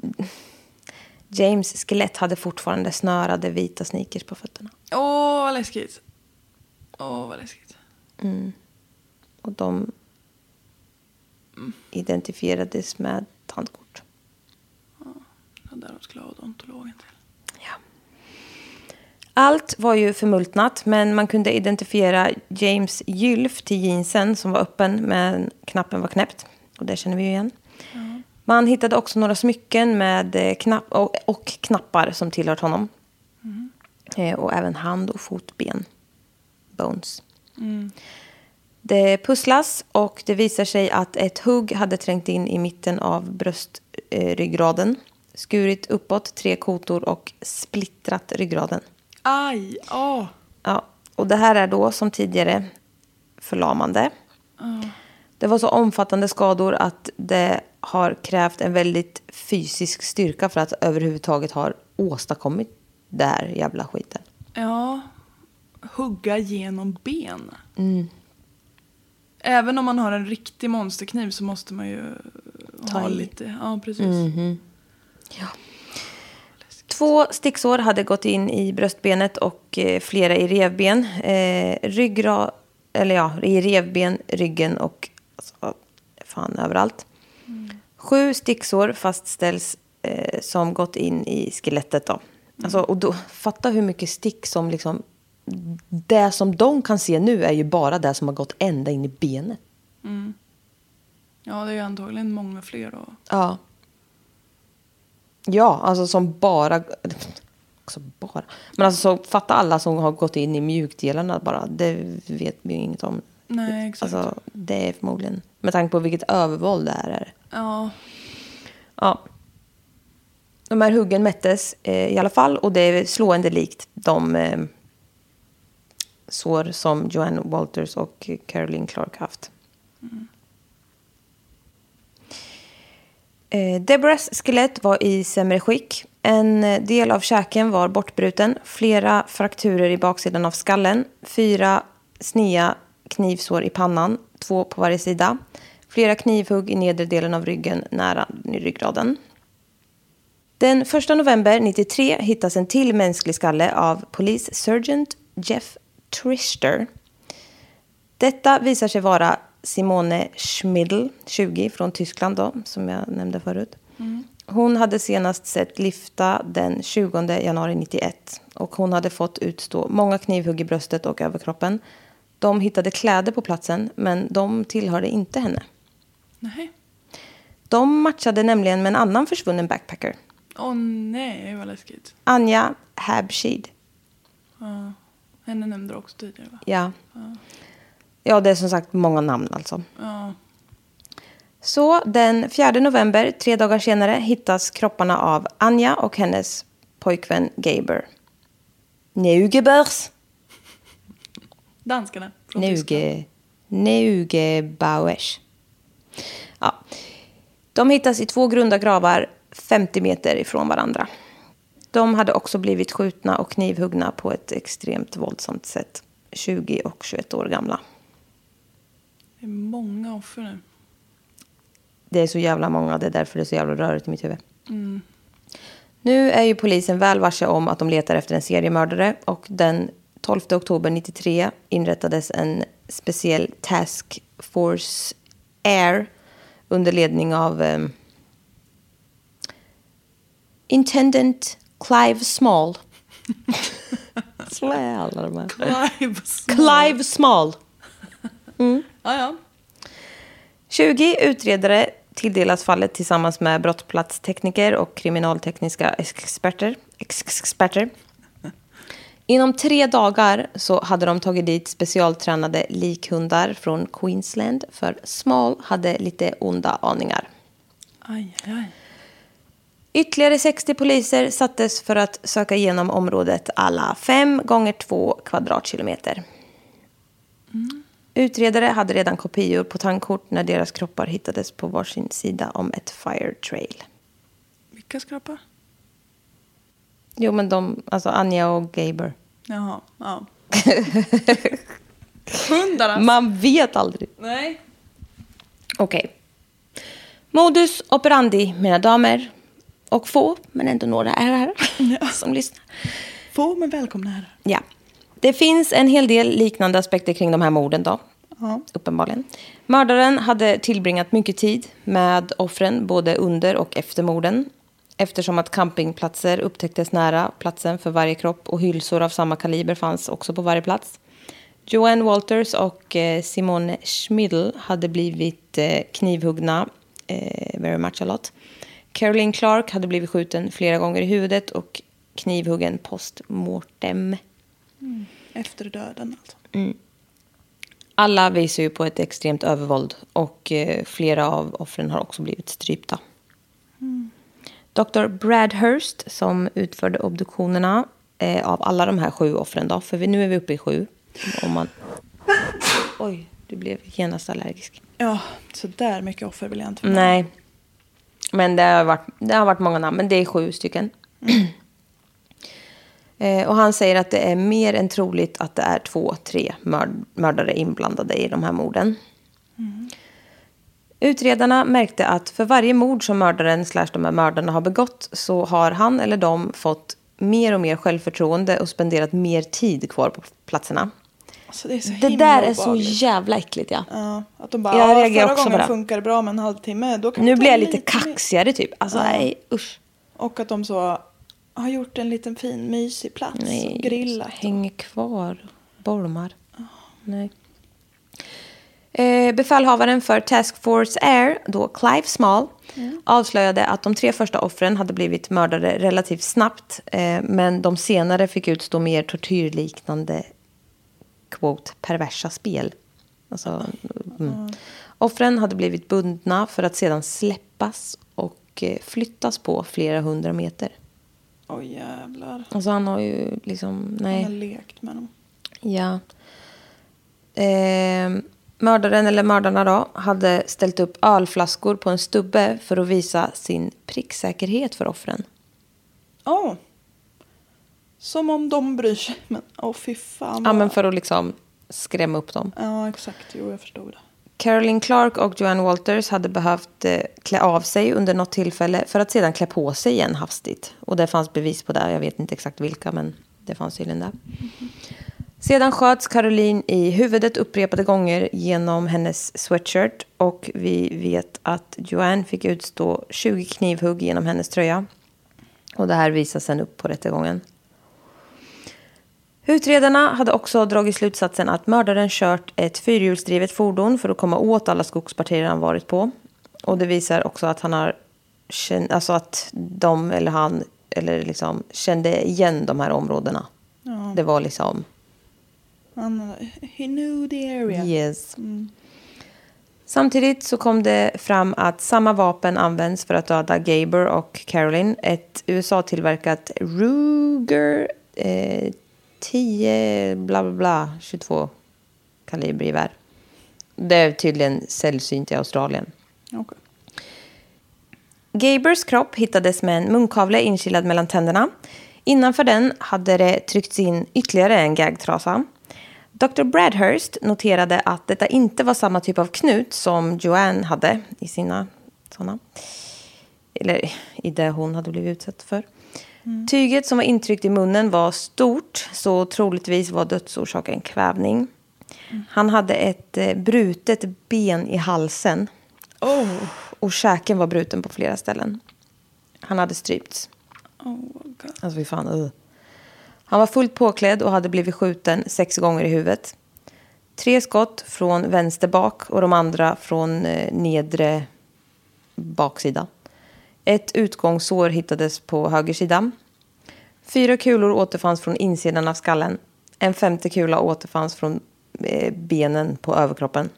Speaker 1: James skelett hade fortfarande snörade vita sneakers på fötterna.
Speaker 2: Åh, vad läskigt. Åh, vad läskigt.
Speaker 1: Och de identifierades med tandkort.
Speaker 2: Det var där de skulle ha odontologen till.
Speaker 1: Ja. Allt var ju förmultnat, men man kunde identifiera James gylf till jeansen som var öppen, men knappen var knäppt. Och det känner vi ju igen. Man hittade också några smycken med eh, knapp och, och knappar som tillhört honom. Eh, och även hand och fotben. Bones.
Speaker 2: Mm.
Speaker 1: Det pusslas och det visar sig att ett hugg hade trängt in i mitten av bröstryggraden. Skurit uppåt tre kotor och splittrat ryggraden.
Speaker 2: Aj, åh.
Speaker 1: Ja, och det här är då som tidigare förlamande. Det var så omfattande skador att det har krävt en väldigt fysisk styrka för att överhuvudtaget ha åstadkommit det här jävla skiten.
Speaker 2: Ja. Hugga genom ben. Även om man har en riktig monsterkniv så måste man ju
Speaker 1: Ta
Speaker 2: ha
Speaker 1: i.
Speaker 2: lite. Ja, precis.
Speaker 1: Två sticksår hade gått in i bröstbenet och eh, flera i revben. Eh, ryggra, eller ja, i revben, ryggen och alltså, fan överallt. Sju sticksår fastställs eh, som gått in i skelettet. Då. Alltså, och då, fatta hur mycket stick som liksom... Det som de kan se nu är ju bara det som har gått ända in i benet.
Speaker 2: Ja, det är ju antagligen många fler då.
Speaker 1: Ja. Ja, alltså som bara... Också bara. Men alltså så fatta alla som har gått in i mjukdelarna bara. Det vet vi ju inget om.
Speaker 2: Nej, exakt.
Speaker 1: Alltså det är förmodligen... Med tanke på vilket övervåld det här är.
Speaker 2: Ja.
Speaker 1: Ja. De här huggen mättes eh, i alla fall och det är slående likt de eh, sår som Joanne Walters och Caroline Clark haft. Eh, Deborahs skelett var i sämre skick. En eh, del av käken var bortbruten, flera frakturer i baksidan av skallen, fyra snea knivsår i pannan, två på varje sida, flera knivhugg i nedre delen av ryggen nära ryggraden. Den 1 november 93 hittas en till mänsklig skalle av polis Sergeant Jeff Trister. Detta visar sig vara Simone Schmidl, 20, från Tyskland då, som jag nämnde förut. Hon hade senast sett Lifta den 20 januari 91 och hon hade fått utstå många knivhugg i bröstet och överkroppen. De hittade kläder på platsen, men de tillhörde inte henne.
Speaker 2: Nej.
Speaker 1: De matchade nämligen med en annan försvunnen backpacker,
Speaker 2: Åh nej, vad läskigt.
Speaker 1: Anja Habshid.
Speaker 2: Ja. Henne nämnde du också tidigare va?
Speaker 1: Ja. ja, det är som sagt många namn alltså.
Speaker 2: Ja.
Speaker 1: Så den 4 november, tre dagar senare, hittas kropparna av Anja och hennes pojkvän Gaber. Neugebers.
Speaker 2: Danskarna. från Tyskland.
Speaker 1: Neuge... Neugebauers. Ja. De hittas i två grunda gravar 50 meter ifrån varandra. De hade också blivit skjutna och knivhuggna på ett extremt våldsamt sätt. 20 och 21 år gamla.
Speaker 2: Det är många offer nu.
Speaker 1: Det är så jävla många, det är därför det är så jävla rörigt i mitt huvud. Nu är ju polisen väl varse om att de letar efter en seriemördare och den 12 oktober 93 inrättades en speciell Task Force Air under ledning av eh, Intendant Clive Small. Slä alla de här.
Speaker 2: Clive.
Speaker 1: Clive Small.
Speaker 2: Ja, ja.
Speaker 1: 20 utredare tilldelas fallet tillsammans med brottsplatstekniker och kriminaltekniska experter. Ex- experter. Inom tre dagar så hade de tagit dit specialtränade likhundar från Queensland för Small hade lite onda aningar.
Speaker 2: Aj, aj, aj.
Speaker 1: Ytterligare 60 poliser sattes för att söka igenom området alla 5 gånger 2 kvadratkilometer. Utredare hade redan kopior på tandkort när deras kroppar hittades på varsin sida om ett fire trail.
Speaker 2: Vilka skrapar?
Speaker 1: Jo, men de, alltså Anja och Gaber.
Speaker 2: Jaha, ja. Mm. Hundarna.
Speaker 1: Man vet aldrig.
Speaker 2: Nej.
Speaker 1: Okej. Modus operandi, mina damer. Och få, men ändå några är här som lyssnar.
Speaker 2: Få men välkomna här.
Speaker 1: Ja. Det finns en hel del liknande aspekter kring de här morden då.
Speaker 2: Ja.
Speaker 1: Uppenbarligen. Mördaren hade tillbringat mycket tid med offren både under och efter morden. Eftersom att campingplatser upptäcktes nära platsen för varje kropp och hylsor av samma kaliber fanns också på varje plats. Joanne Walters och eh, Simone Schmidl hade blivit eh, knivhuggna eh, very much a lot. Caroline Clark hade blivit skjuten flera gånger i huvudet och knivhuggen post mortem.
Speaker 2: Efter döden alltså.
Speaker 1: Alla visar ju på ett extremt övervåld och eh, flera av offren har också blivit strypta. Dr. Bradhurst som utförde obduktionerna eh, av alla de här sju offren då, för vi, nu är vi uppe i sju. Om man... Oj, du blev genast allergisk.
Speaker 2: Ja, så där mycket offer vill jag inte vara.
Speaker 1: Nej. Men det har varit, det har varit många namn, men det är sju stycken. Eh, Och han säger att det är mer än troligt att det är två, tre mörd- mördare inblandade i de här morden. Mm. Utredarna märkte att för varje mord som mördaren slash de här mördarna har begått så har han eller de fått mer och mer självförtroende och spenderat mer tid kvar på platserna.
Speaker 2: Alltså, det är så
Speaker 1: Det
Speaker 2: himla
Speaker 1: där är så
Speaker 2: obehagligt.
Speaker 1: jävla äckligt ja.
Speaker 2: Ja, att de bara,
Speaker 1: Jag
Speaker 2: jag
Speaker 1: reagerar
Speaker 2: förra
Speaker 1: också på
Speaker 2: gången
Speaker 1: det.
Speaker 2: funkar det bra med en halvtimme. Då kan vi
Speaker 1: Nu
Speaker 2: ta
Speaker 1: blir jag
Speaker 2: lite
Speaker 1: lite
Speaker 2: mer."
Speaker 1: kaxigare typ. Alltså nej, usch.
Speaker 2: Och att de så har gjort en liten fin mysig plats och grillat.
Speaker 1: häng kvar. Bolmar. Nej. Eh, befälhavaren för Task Force Air, då Clive Small, avslöjade att de tre första offren hade blivit mördade relativt snabbt. Eh, men de senare fick utstå mer tortyrliknande quote, perversa spel. Alltså, mm. Offren hade blivit bundna för att sedan släppas och eh, flyttas på flera hundra meter.
Speaker 2: Oj jävlar.
Speaker 1: Alltså han har ju liksom,
Speaker 2: Han har
Speaker 1: nej.
Speaker 2: lekt med dem.
Speaker 1: Ja. Ehm, mördaren, eller mördarna då, hade ställt upp ölflaskor på en stubbe för att visa sin pricksäkerhet för offren.
Speaker 2: Åh! Som om de bryr sig. Men åh fy fan.
Speaker 1: Ja,
Speaker 2: vad-
Speaker 1: men för att liksom skrämma upp dem.
Speaker 2: ja exakt. Jo jag förstod det.
Speaker 1: Caroline Clark och Joanne Walters hade behövt eh, klä av sig under något tillfälle för att sedan klä på sig igen hastigt. Och det fanns bevis på det. Jag vet inte exakt vilka, men det fanns tydligen där. Sedan sköts Caroline i huvudet upprepade gånger genom hennes sweatshirt och vi vet att Joanne fick utstå 20 knivhugg genom hennes tröja. Och det här visas sen upp på rättegången. Utredarna hade också dragit slutsatsen att mördaren kört ett fyrhjulsdrivet fordon för att komma åt alla skogspartier han varit på. Och det visar också att han har känn- alltså att de eller han eller liksom kände igen de här områdena.
Speaker 2: Ja.
Speaker 1: Det var liksom
Speaker 2: Han, he knew the area. Mm.
Speaker 1: Yes. Samtidigt så kom det fram att samma vapen används för att döda Gaber och Caroline. Ett USA-tillverkat Ruger eh, 10 bla bla bla 22 kalibergevär. Det är tydligen sällsynt i Australien.
Speaker 2: Okej.
Speaker 1: Gabers kropp hittades med en munkavle inkilad mellan tänderna. Innanför den hade det tryckts in ytterligare en gagtrasa. Dr. Bradhurst noterade att detta inte var samma typ av knut som Joanne hade i sina sådana. Eller i det hon hade blivit utsatt för. Tyget som var intryckt i munnen var stort, så troligtvis var dödsorsaken kvävning. Han hade ett eh, brutet ben i halsen.
Speaker 2: Oh.
Speaker 1: Och käken var bruten på flera ställen. Han hade strypts.
Speaker 2: Oh god.
Speaker 1: Alltså fy fan. Uh. Han var fullt påklädd och hade blivit skjuten sex gånger i huvudet. Tre skott från vänster bak och de andra från eh, nedre baksida. Ett utgångssår hittades på höger sida. Fyra kulor återfanns från insidan av skallen. En femte kula återfanns från eh, benen på överkroppen.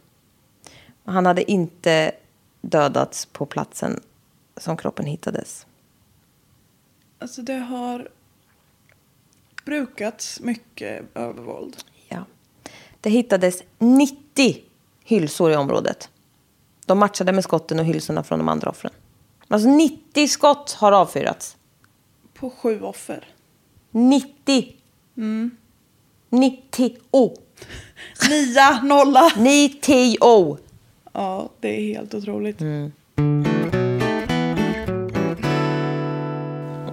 Speaker 1: Han hade inte dödats på platsen som kroppen hittades.
Speaker 2: Alltså det har brukats mycket övervåld.
Speaker 1: Ja. Det hittades 90 hylsor i området. De matchade med skotten och hylsorna från de andra offren. Alltså 90 skott har avfyrats.
Speaker 2: På sju offer.
Speaker 1: 90! 90!
Speaker 2: Nia, nolla.
Speaker 1: 90!
Speaker 2: Ja, det är helt otroligt.
Speaker 1: Mm.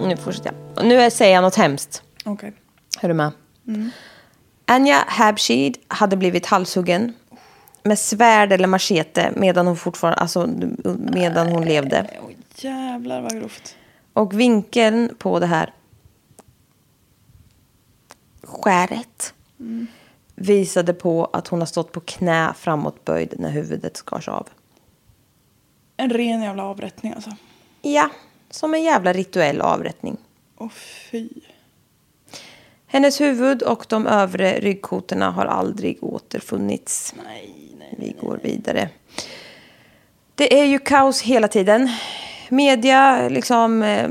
Speaker 1: Nu fortsätter jag. Nu är- säger jag något hemskt.
Speaker 2: Okej.
Speaker 1: Är du med? Anja Habshid hade blivit halshuggen med svärd eller machete medan hon fortfarande, alltså medan hon levde.
Speaker 2: Åh, jävlar vad grovt.
Speaker 1: Och vinkeln på det här skäret visade på att hon har stått på knä framåtböjd när huvudet skars av.
Speaker 2: En ren jävla avrättning alltså.
Speaker 1: Ja, som en jävla rituell avrättning.
Speaker 2: Åh fy.
Speaker 1: Hennes huvud och de övre ryggkotorna har aldrig återfunnits.
Speaker 2: Nej, nej.
Speaker 1: Vi går vidare. Det är ju kaos hela tiden. Media, liksom... Eh,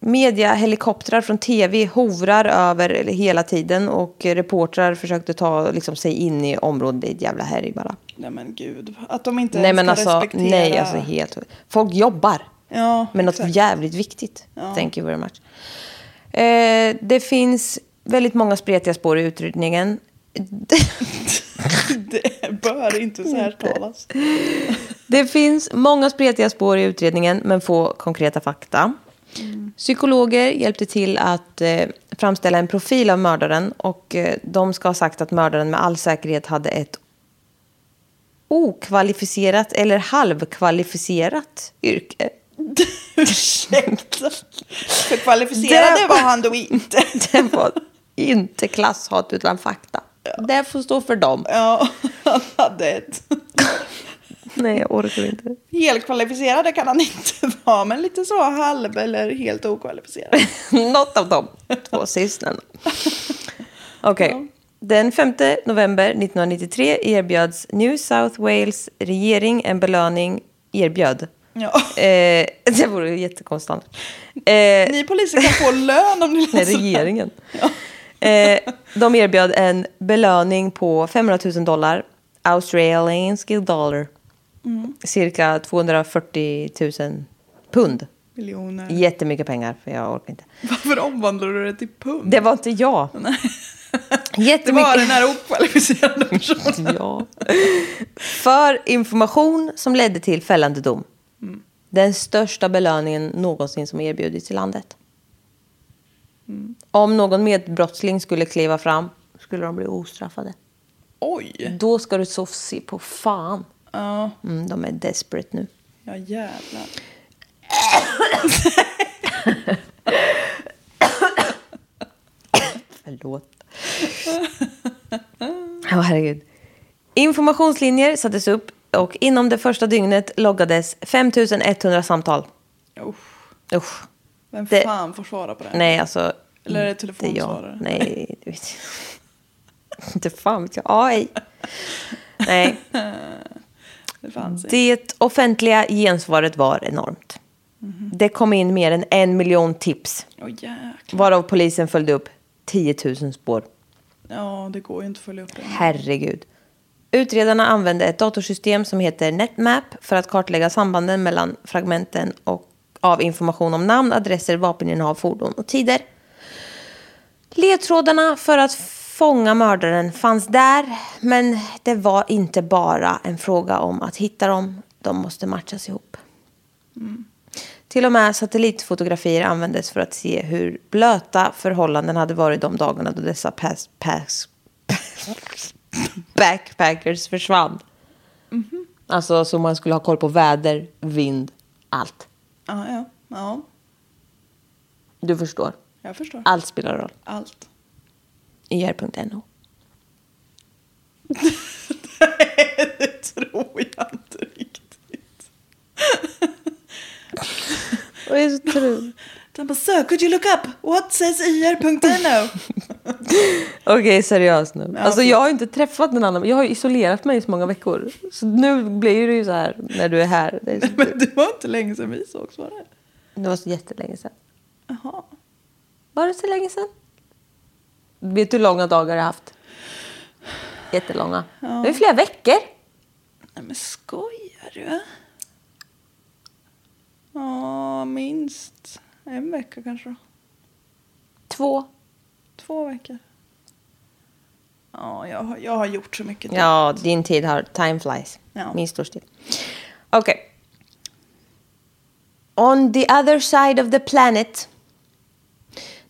Speaker 1: media, helikoptrar från tv hovrar över hela tiden och reportrar försökte ta liksom, sig in i området. Det är ett jävla härj bara.
Speaker 2: Nej men gud. Att de inte
Speaker 1: Nej,
Speaker 2: ens
Speaker 1: men
Speaker 2: ska
Speaker 1: alltså,
Speaker 2: respektera.
Speaker 1: nej, alltså helt... Folk jobbar
Speaker 2: Ja,
Speaker 1: men något
Speaker 2: exakt.
Speaker 1: jävligt viktigt.
Speaker 2: Ja.
Speaker 1: Thank you very much. Eh, det finns väldigt många spretiga spår i utredningen.
Speaker 2: Det bör inte särtalas.
Speaker 1: Det finns många spretiga spår i utredningen, men få konkreta fakta.
Speaker 2: Mm.
Speaker 1: Psykologer hjälpte till att eh, framställa en profil av mördaren och eh, de ska ha sagt att mördaren med all säkerhet hade ett okvalificerat eller halvkvalificerat yrke.
Speaker 2: Ursäkta. För kvalificerade
Speaker 1: Det-
Speaker 2: var han då inte.
Speaker 1: Det var inte klasshat utan fakta. Det får stå för dem.
Speaker 2: Ja, han hade ett.
Speaker 1: Nej, jag orkar inte.
Speaker 2: Helkvalificerade kan han inte vara, men lite så halv eller helt okvalificerad.
Speaker 1: Något av de två sistnämnda. Okej. Den 5 november 1993 erbjöds New South Wales regering en belöning. Erbjöd.
Speaker 2: Ja.
Speaker 1: Eh, det vore ju jättekonstant. Eh,
Speaker 2: Ni poliser kan få lön om ni
Speaker 1: Nej,
Speaker 2: läser det här.
Speaker 1: regeringen. Eh, de erbjöd en belöning på 500 000 dollar, australienska dollar,
Speaker 2: Mm.
Speaker 1: cirka 240 000 pund.
Speaker 2: Miljoner.
Speaker 1: Jättemycket pengar, för jag orkar inte.
Speaker 2: Varför omvandlar du det till pund?
Speaker 1: Det var inte jag.
Speaker 2: Det var den
Speaker 1: Jättemycket.
Speaker 2: här okvalificerade personen.
Speaker 1: ja. För information som ledde till fällande dom.
Speaker 2: Mm.
Speaker 1: Den största belöningen någonsin som erbjudits i landet.
Speaker 2: Mm.
Speaker 1: Om någon medbrottsling skulle kliva fram skulle de bli ostraffade.
Speaker 2: Oj!
Speaker 1: Då ska du så se på fan.
Speaker 2: Ja,
Speaker 1: Mm, de är desperate nu.
Speaker 2: ja jävlar.
Speaker 1: Förlåt. Ja, herregud. Informationslinjer sattes upp och inom det första dygnet loggades 5100 samtal.
Speaker 2: Usch.
Speaker 1: Usch.
Speaker 2: Vem
Speaker 1: Det-
Speaker 2: fan får svara på det?
Speaker 1: Nej, alltså.
Speaker 2: Eller är det
Speaker 1: inte jag.
Speaker 2: telefonsvarare?
Speaker 1: Nej, du vet. Inte fan vet jag. AI. Nej,
Speaker 2: Det fanns inte.
Speaker 1: det offentliga gensvaret var enormt.
Speaker 2: Mhm.
Speaker 1: Det kom in mer än en miljon tips,
Speaker 2: Åh jäklar.
Speaker 1: varav polisen följde upp 10 000 spår.
Speaker 2: Ja, det går ju inte att följa upp det.
Speaker 1: Herregud. Utredarna använde ett datorsystem som heter NetMap för att kartlägga sambanden mellan fragmenten och av information om namn, adresser, vapeninnehav, fordon och tider. Ledtrådarna för att fånga mördaren fanns där, men det var inte bara en fråga om att hitta dem. De måste matchas ihop. Till och med satellitfotografier användes för att se hur blöta förhållanden hade varit de dagarna då dessa pass, pass, backpackers försvann. Alltså så man skulle ha koll på väder, vind, allt.
Speaker 2: Ja, ja. Ja,
Speaker 1: Du förstår.
Speaker 2: jag förstår.
Speaker 1: Allt spelar roll.
Speaker 2: Allt.
Speaker 1: YR.no.
Speaker 2: Nej, det tror jag inte riktigt.
Speaker 1: Och det är så true.
Speaker 2: Den bara, so could you look up? What says E ir.no?
Speaker 1: Okej, seriöst nu.
Speaker 2: Ja,
Speaker 1: Alltså
Speaker 2: förlåt.
Speaker 1: jag har ju inte träffat någon annan. Jag har ju isolerat mig i så många veckor. Så nu blir det ju så här när du är här. Det, är så
Speaker 2: Men det var inte länge sedan vi sågs var det?
Speaker 1: det var så jättelänge sedan.
Speaker 2: Jaha.
Speaker 1: Var det så länge sedan? Vet du hur långa dagar jag har haft? Jättelånga. Det är flera veckor.
Speaker 2: Nej men skojar du? Ja, minst en vecka kanske då.
Speaker 1: Två
Speaker 2: två veckor. Ja, jag, har- jag har gjort så mycket.
Speaker 1: Ja, din tid har... Time flies.
Speaker 2: Ja.
Speaker 1: Min står still. Okej. On the other side of the planet.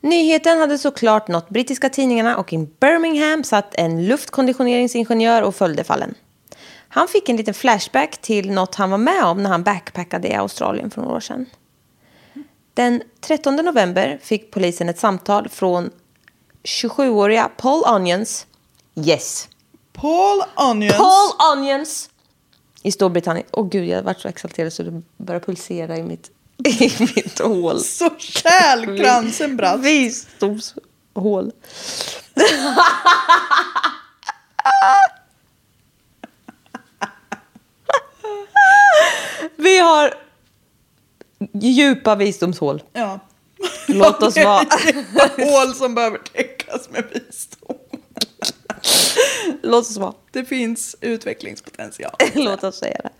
Speaker 1: Nyheten hade såklart nått brittiska tidningarna och i Birmingham satt en luftkonditioneringsingenjör och följde fallen. Han fick en liten flashback till något han var med om när han backpackade i Australien för några år sedan. Den 13 november fick polisen ett samtal från 27-åriga Paul Onions. Yes,
Speaker 2: Paul Onions.
Speaker 1: Paul Onions! I Storbritannien. Åh gud, jag har varit så exalterad så det börjar pulsera i mitt, i mitt hål.
Speaker 2: Så kärlkransen brast.
Speaker 1: Visdomshål. Vi har djupa visdomshål.
Speaker 2: Ja.
Speaker 1: Låt oss vara.
Speaker 2: Hål som behöver täckas med visdom.
Speaker 1: Låt oss vara.
Speaker 2: Det finns utvecklingspotential.
Speaker 1: Låt oss säga det.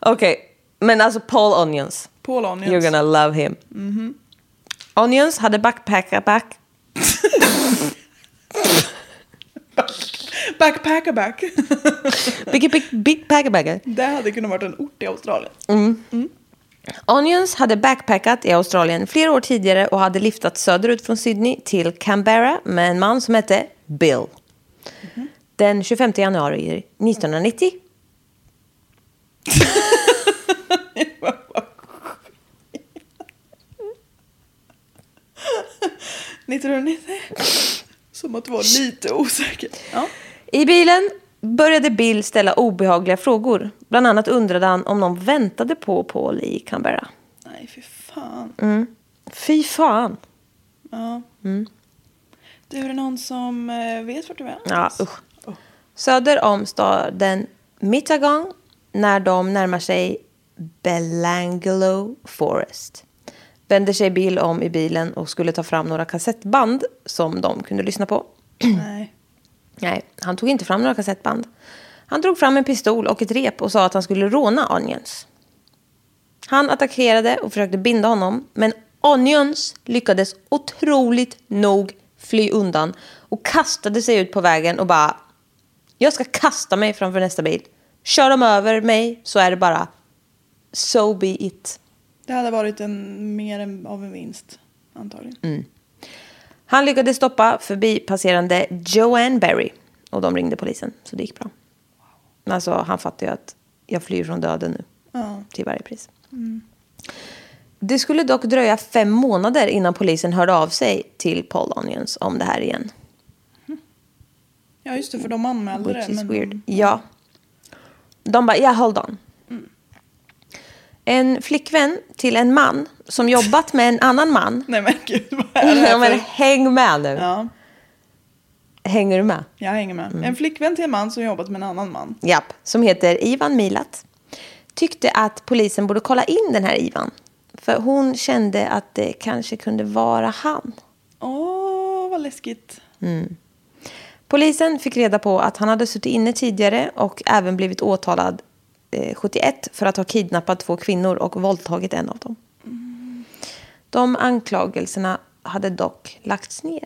Speaker 1: Okej, men alltså Paul Onions.
Speaker 2: Paul Onions.
Speaker 1: You're gonna love him. Onions hade backpackat back.
Speaker 2: Backpacker back.
Speaker 1: Big, big, big packerbagger.
Speaker 2: Det hade kunnat varit en ort i Australien.
Speaker 1: Onions hade backpackat i Australien flera år tidigare och hade liftat söderut från Sydney till Canberra med en man som hette Bill. Mm-hmm. Den 25 januari 1990.
Speaker 2: Vad sjukt. 1990. Som att vara lite osäker. Ja.
Speaker 1: I bilen började Bill ställa obehagliga frågor. Bland annat undrade han om någon väntade på Paul i Canberra. Mm.
Speaker 2: Nej, fy fan.
Speaker 1: Fy fan.
Speaker 2: Ja.
Speaker 1: Mm.
Speaker 2: Du, är det någon som eh, vet vart du är?
Speaker 1: Ja, usch. Söder om staden Mittagong när de närmar sig Belanglo Forest. Vänder sig Bill om i bilen och skulle ta fram några kassettband som de kunde lyssna på.
Speaker 2: Nej.
Speaker 1: Nej, han tog inte fram några kassettband. Han drog fram en pistol och ett rep och sa att han skulle råna Onions. Han attackerade och försökte binda honom, men Onions lyckades otroligt nog fly undan och kastade sig ut på vägen och bara Jag ska kasta mig framför nästa bil. Kör de över mig så är det bara So be it.
Speaker 2: Det hade varit en, mer än av en vinst, antagligen.
Speaker 1: Mm. Han lyckades stoppa förbipasserande Joanne Berry och de ringde polisen, så det gick bra. Men Alltså, han fattar ju att jag flyr från döden nu,
Speaker 2: Ja.
Speaker 1: till varje pris. Det skulle dock dröja fem månader innan polisen hörde av sig till Paul Onions om det här igen.
Speaker 2: ja, just det, för de anmälde
Speaker 1: Which
Speaker 2: det.
Speaker 1: is
Speaker 2: men-
Speaker 1: weird. Ja. De bara, ja, hold on. En flickvän till en man som jobbat med en annan man.
Speaker 2: Nej men gud, vad är det
Speaker 1: Ja, men
Speaker 2: här för...
Speaker 1: häng med nu.
Speaker 2: Ja,
Speaker 1: Hänger du med?
Speaker 2: jag hänger med.
Speaker 1: Mm.
Speaker 2: En flickvän till en man som jobbat med en annan man.
Speaker 1: Japp, som heter Ivan Milat. Tyckte att polisen borde kolla in den här Ivan. För hon kände att det kanske kunde vara han.
Speaker 2: Åh, vad läskigt.
Speaker 1: Polisen fick reda på att han hade suttit inne tidigare och även blivit åtalad eh, 71 för att ha kidnappat två kvinnor och våldtagit en av dem. De anklagelserna hade dock lagts ner.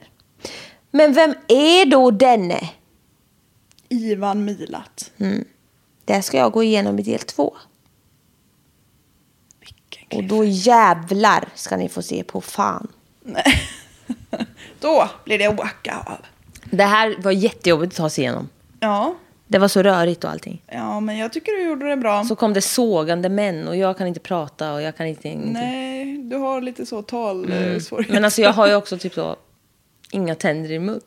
Speaker 1: Men vem är då denne?
Speaker 2: Ivan Milat.
Speaker 1: Mm. Det ska jag gå igenom i del två.
Speaker 2: Vilken
Speaker 1: Och
Speaker 2: klipp.
Speaker 1: då jävlar ska ni få se på fan.
Speaker 2: Nej. Då blir det wacka av.
Speaker 1: Det här var jättejobbigt att ta sig igenom.
Speaker 2: Ja,
Speaker 1: Det var så rörigt och allting.
Speaker 2: ja, men jag tycker du gjorde det bra.
Speaker 1: Så kom det sågande män och jag kan inte prata och jag kan inte ingenting.
Speaker 2: Nej, du har lite så talsvårigheter.
Speaker 1: Men alltså jag har ju också typ så inga tänder i mun.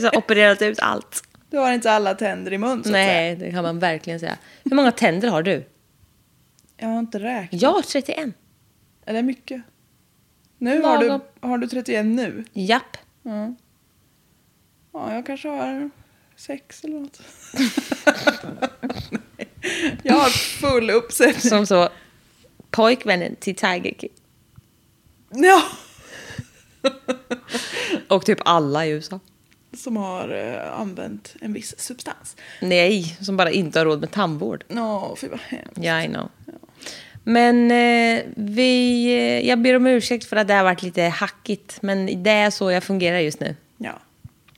Speaker 1: Så opererat ut allt.
Speaker 2: Du har inte alla tänder i mun så att säga.
Speaker 1: Nej, det kan man verkligen säga. Hur många tänder har du?
Speaker 2: Jag har inte räknat.
Speaker 1: Jag har 31.
Speaker 2: Är det mycket? Nu har du,
Speaker 1: Lagom.
Speaker 2: har du 31 nu?
Speaker 1: Japp.
Speaker 2: Ja. ja, jag kanske har sex eller något. Nej. jag har full uppsättning.
Speaker 1: Som så pojkvännen till Tiger King.
Speaker 2: Ja.
Speaker 1: Och typ alla i USA.
Speaker 2: Som har eh, använt en viss substans.
Speaker 1: Nej, som bara inte har råd med tandvård.
Speaker 2: Ja, fy vad hemskt.
Speaker 1: Ja, I know. Men eh, vi, eh, jag ber om ursäkt för att det har varit lite hackigt. Men det är så jag fungerar just nu.
Speaker 2: Ja,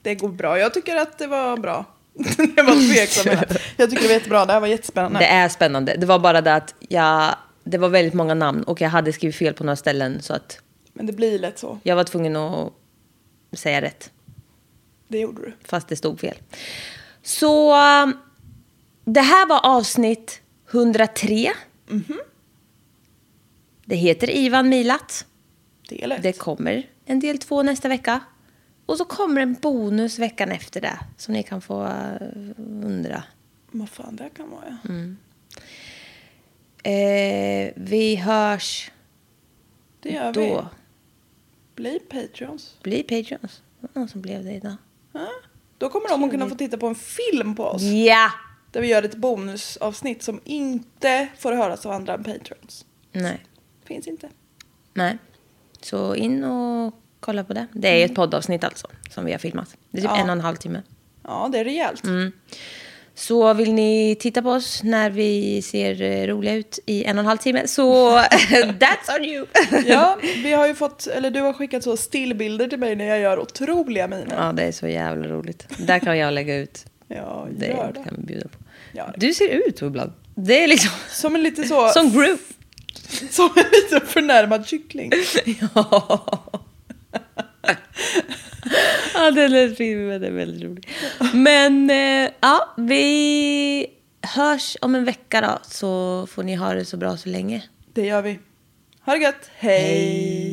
Speaker 2: det går bra. Jag tycker att det var bra. jag var tveksam. men Jag tycker det var jättebra. Det här var jättespännande.
Speaker 1: Det är spännande. Det var bara det att jag, det var väldigt många namn och jag hade skrivit fel på några ställen. Så att
Speaker 2: Men det blir lätt så.
Speaker 1: jag var tvungen att säga rätt.
Speaker 2: Det gjorde du.
Speaker 1: fast det stod fel. Så um, det här var avsnitt 103. Det heter Ivan Milat.
Speaker 2: Det är lätt.
Speaker 1: Det kommer en del två nästa vecka. Och så kommer en bonus veckan efter det som ni kan få eh, undra.
Speaker 2: Vad fan det här kan vara ja.
Speaker 1: Mm. Eh, vi hörs
Speaker 2: Det gör vi.
Speaker 1: då.
Speaker 2: Bli Patreons.
Speaker 1: Bli Patreons. Det var någon som blev det idag.
Speaker 2: Ja. Då kommer de att kunna få titta på en film på oss.
Speaker 1: Ja!
Speaker 2: Där vi gör ett bonusavsnitt som inte får höras av andra än Patreons.
Speaker 1: Nej.
Speaker 2: Finns inte.
Speaker 1: Nej. Så in och kolla på det. Det är ju ett poddavsnitt alltså, som vi har filmat. Det är typ
Speaker 2: Mm. Ja.
Speaker 1: en och en halv timme.
Speaker 2: Ja, det är rejält.
Speaker 1: Mm. Så vill ni titta på oss när vi ser eh, roliga ut i en och en halv timme så that's on you!
Speaker 2: Ja, vi har ju fått, eller du har skickat så stillbilder till mig när jag gör otroliga miner.
Speaker 1: ja, det är så jävla roligt. Där kan jag lägga ut.
Speaker 2: Ja,
Speaker 1: Det
Speaker 2: gör det.
Speaker 1: kan vi bjuda på.
Speaker 2: Gör det.
Speaker 1: Du ser ut så ibland. Det är liksom
Speaker 2: Som en lite så,
Speaker 1: som group.
Speaker 2: som en lite förnärmad kyckling.
Speaker 1: ja. ja, den är filmen är väldigt rolig. Men eh, ja, vi hörs om en vecka då så får ni ha det så bra så länge.
Speaker 2: Det gör vi. Ha det gött, hej.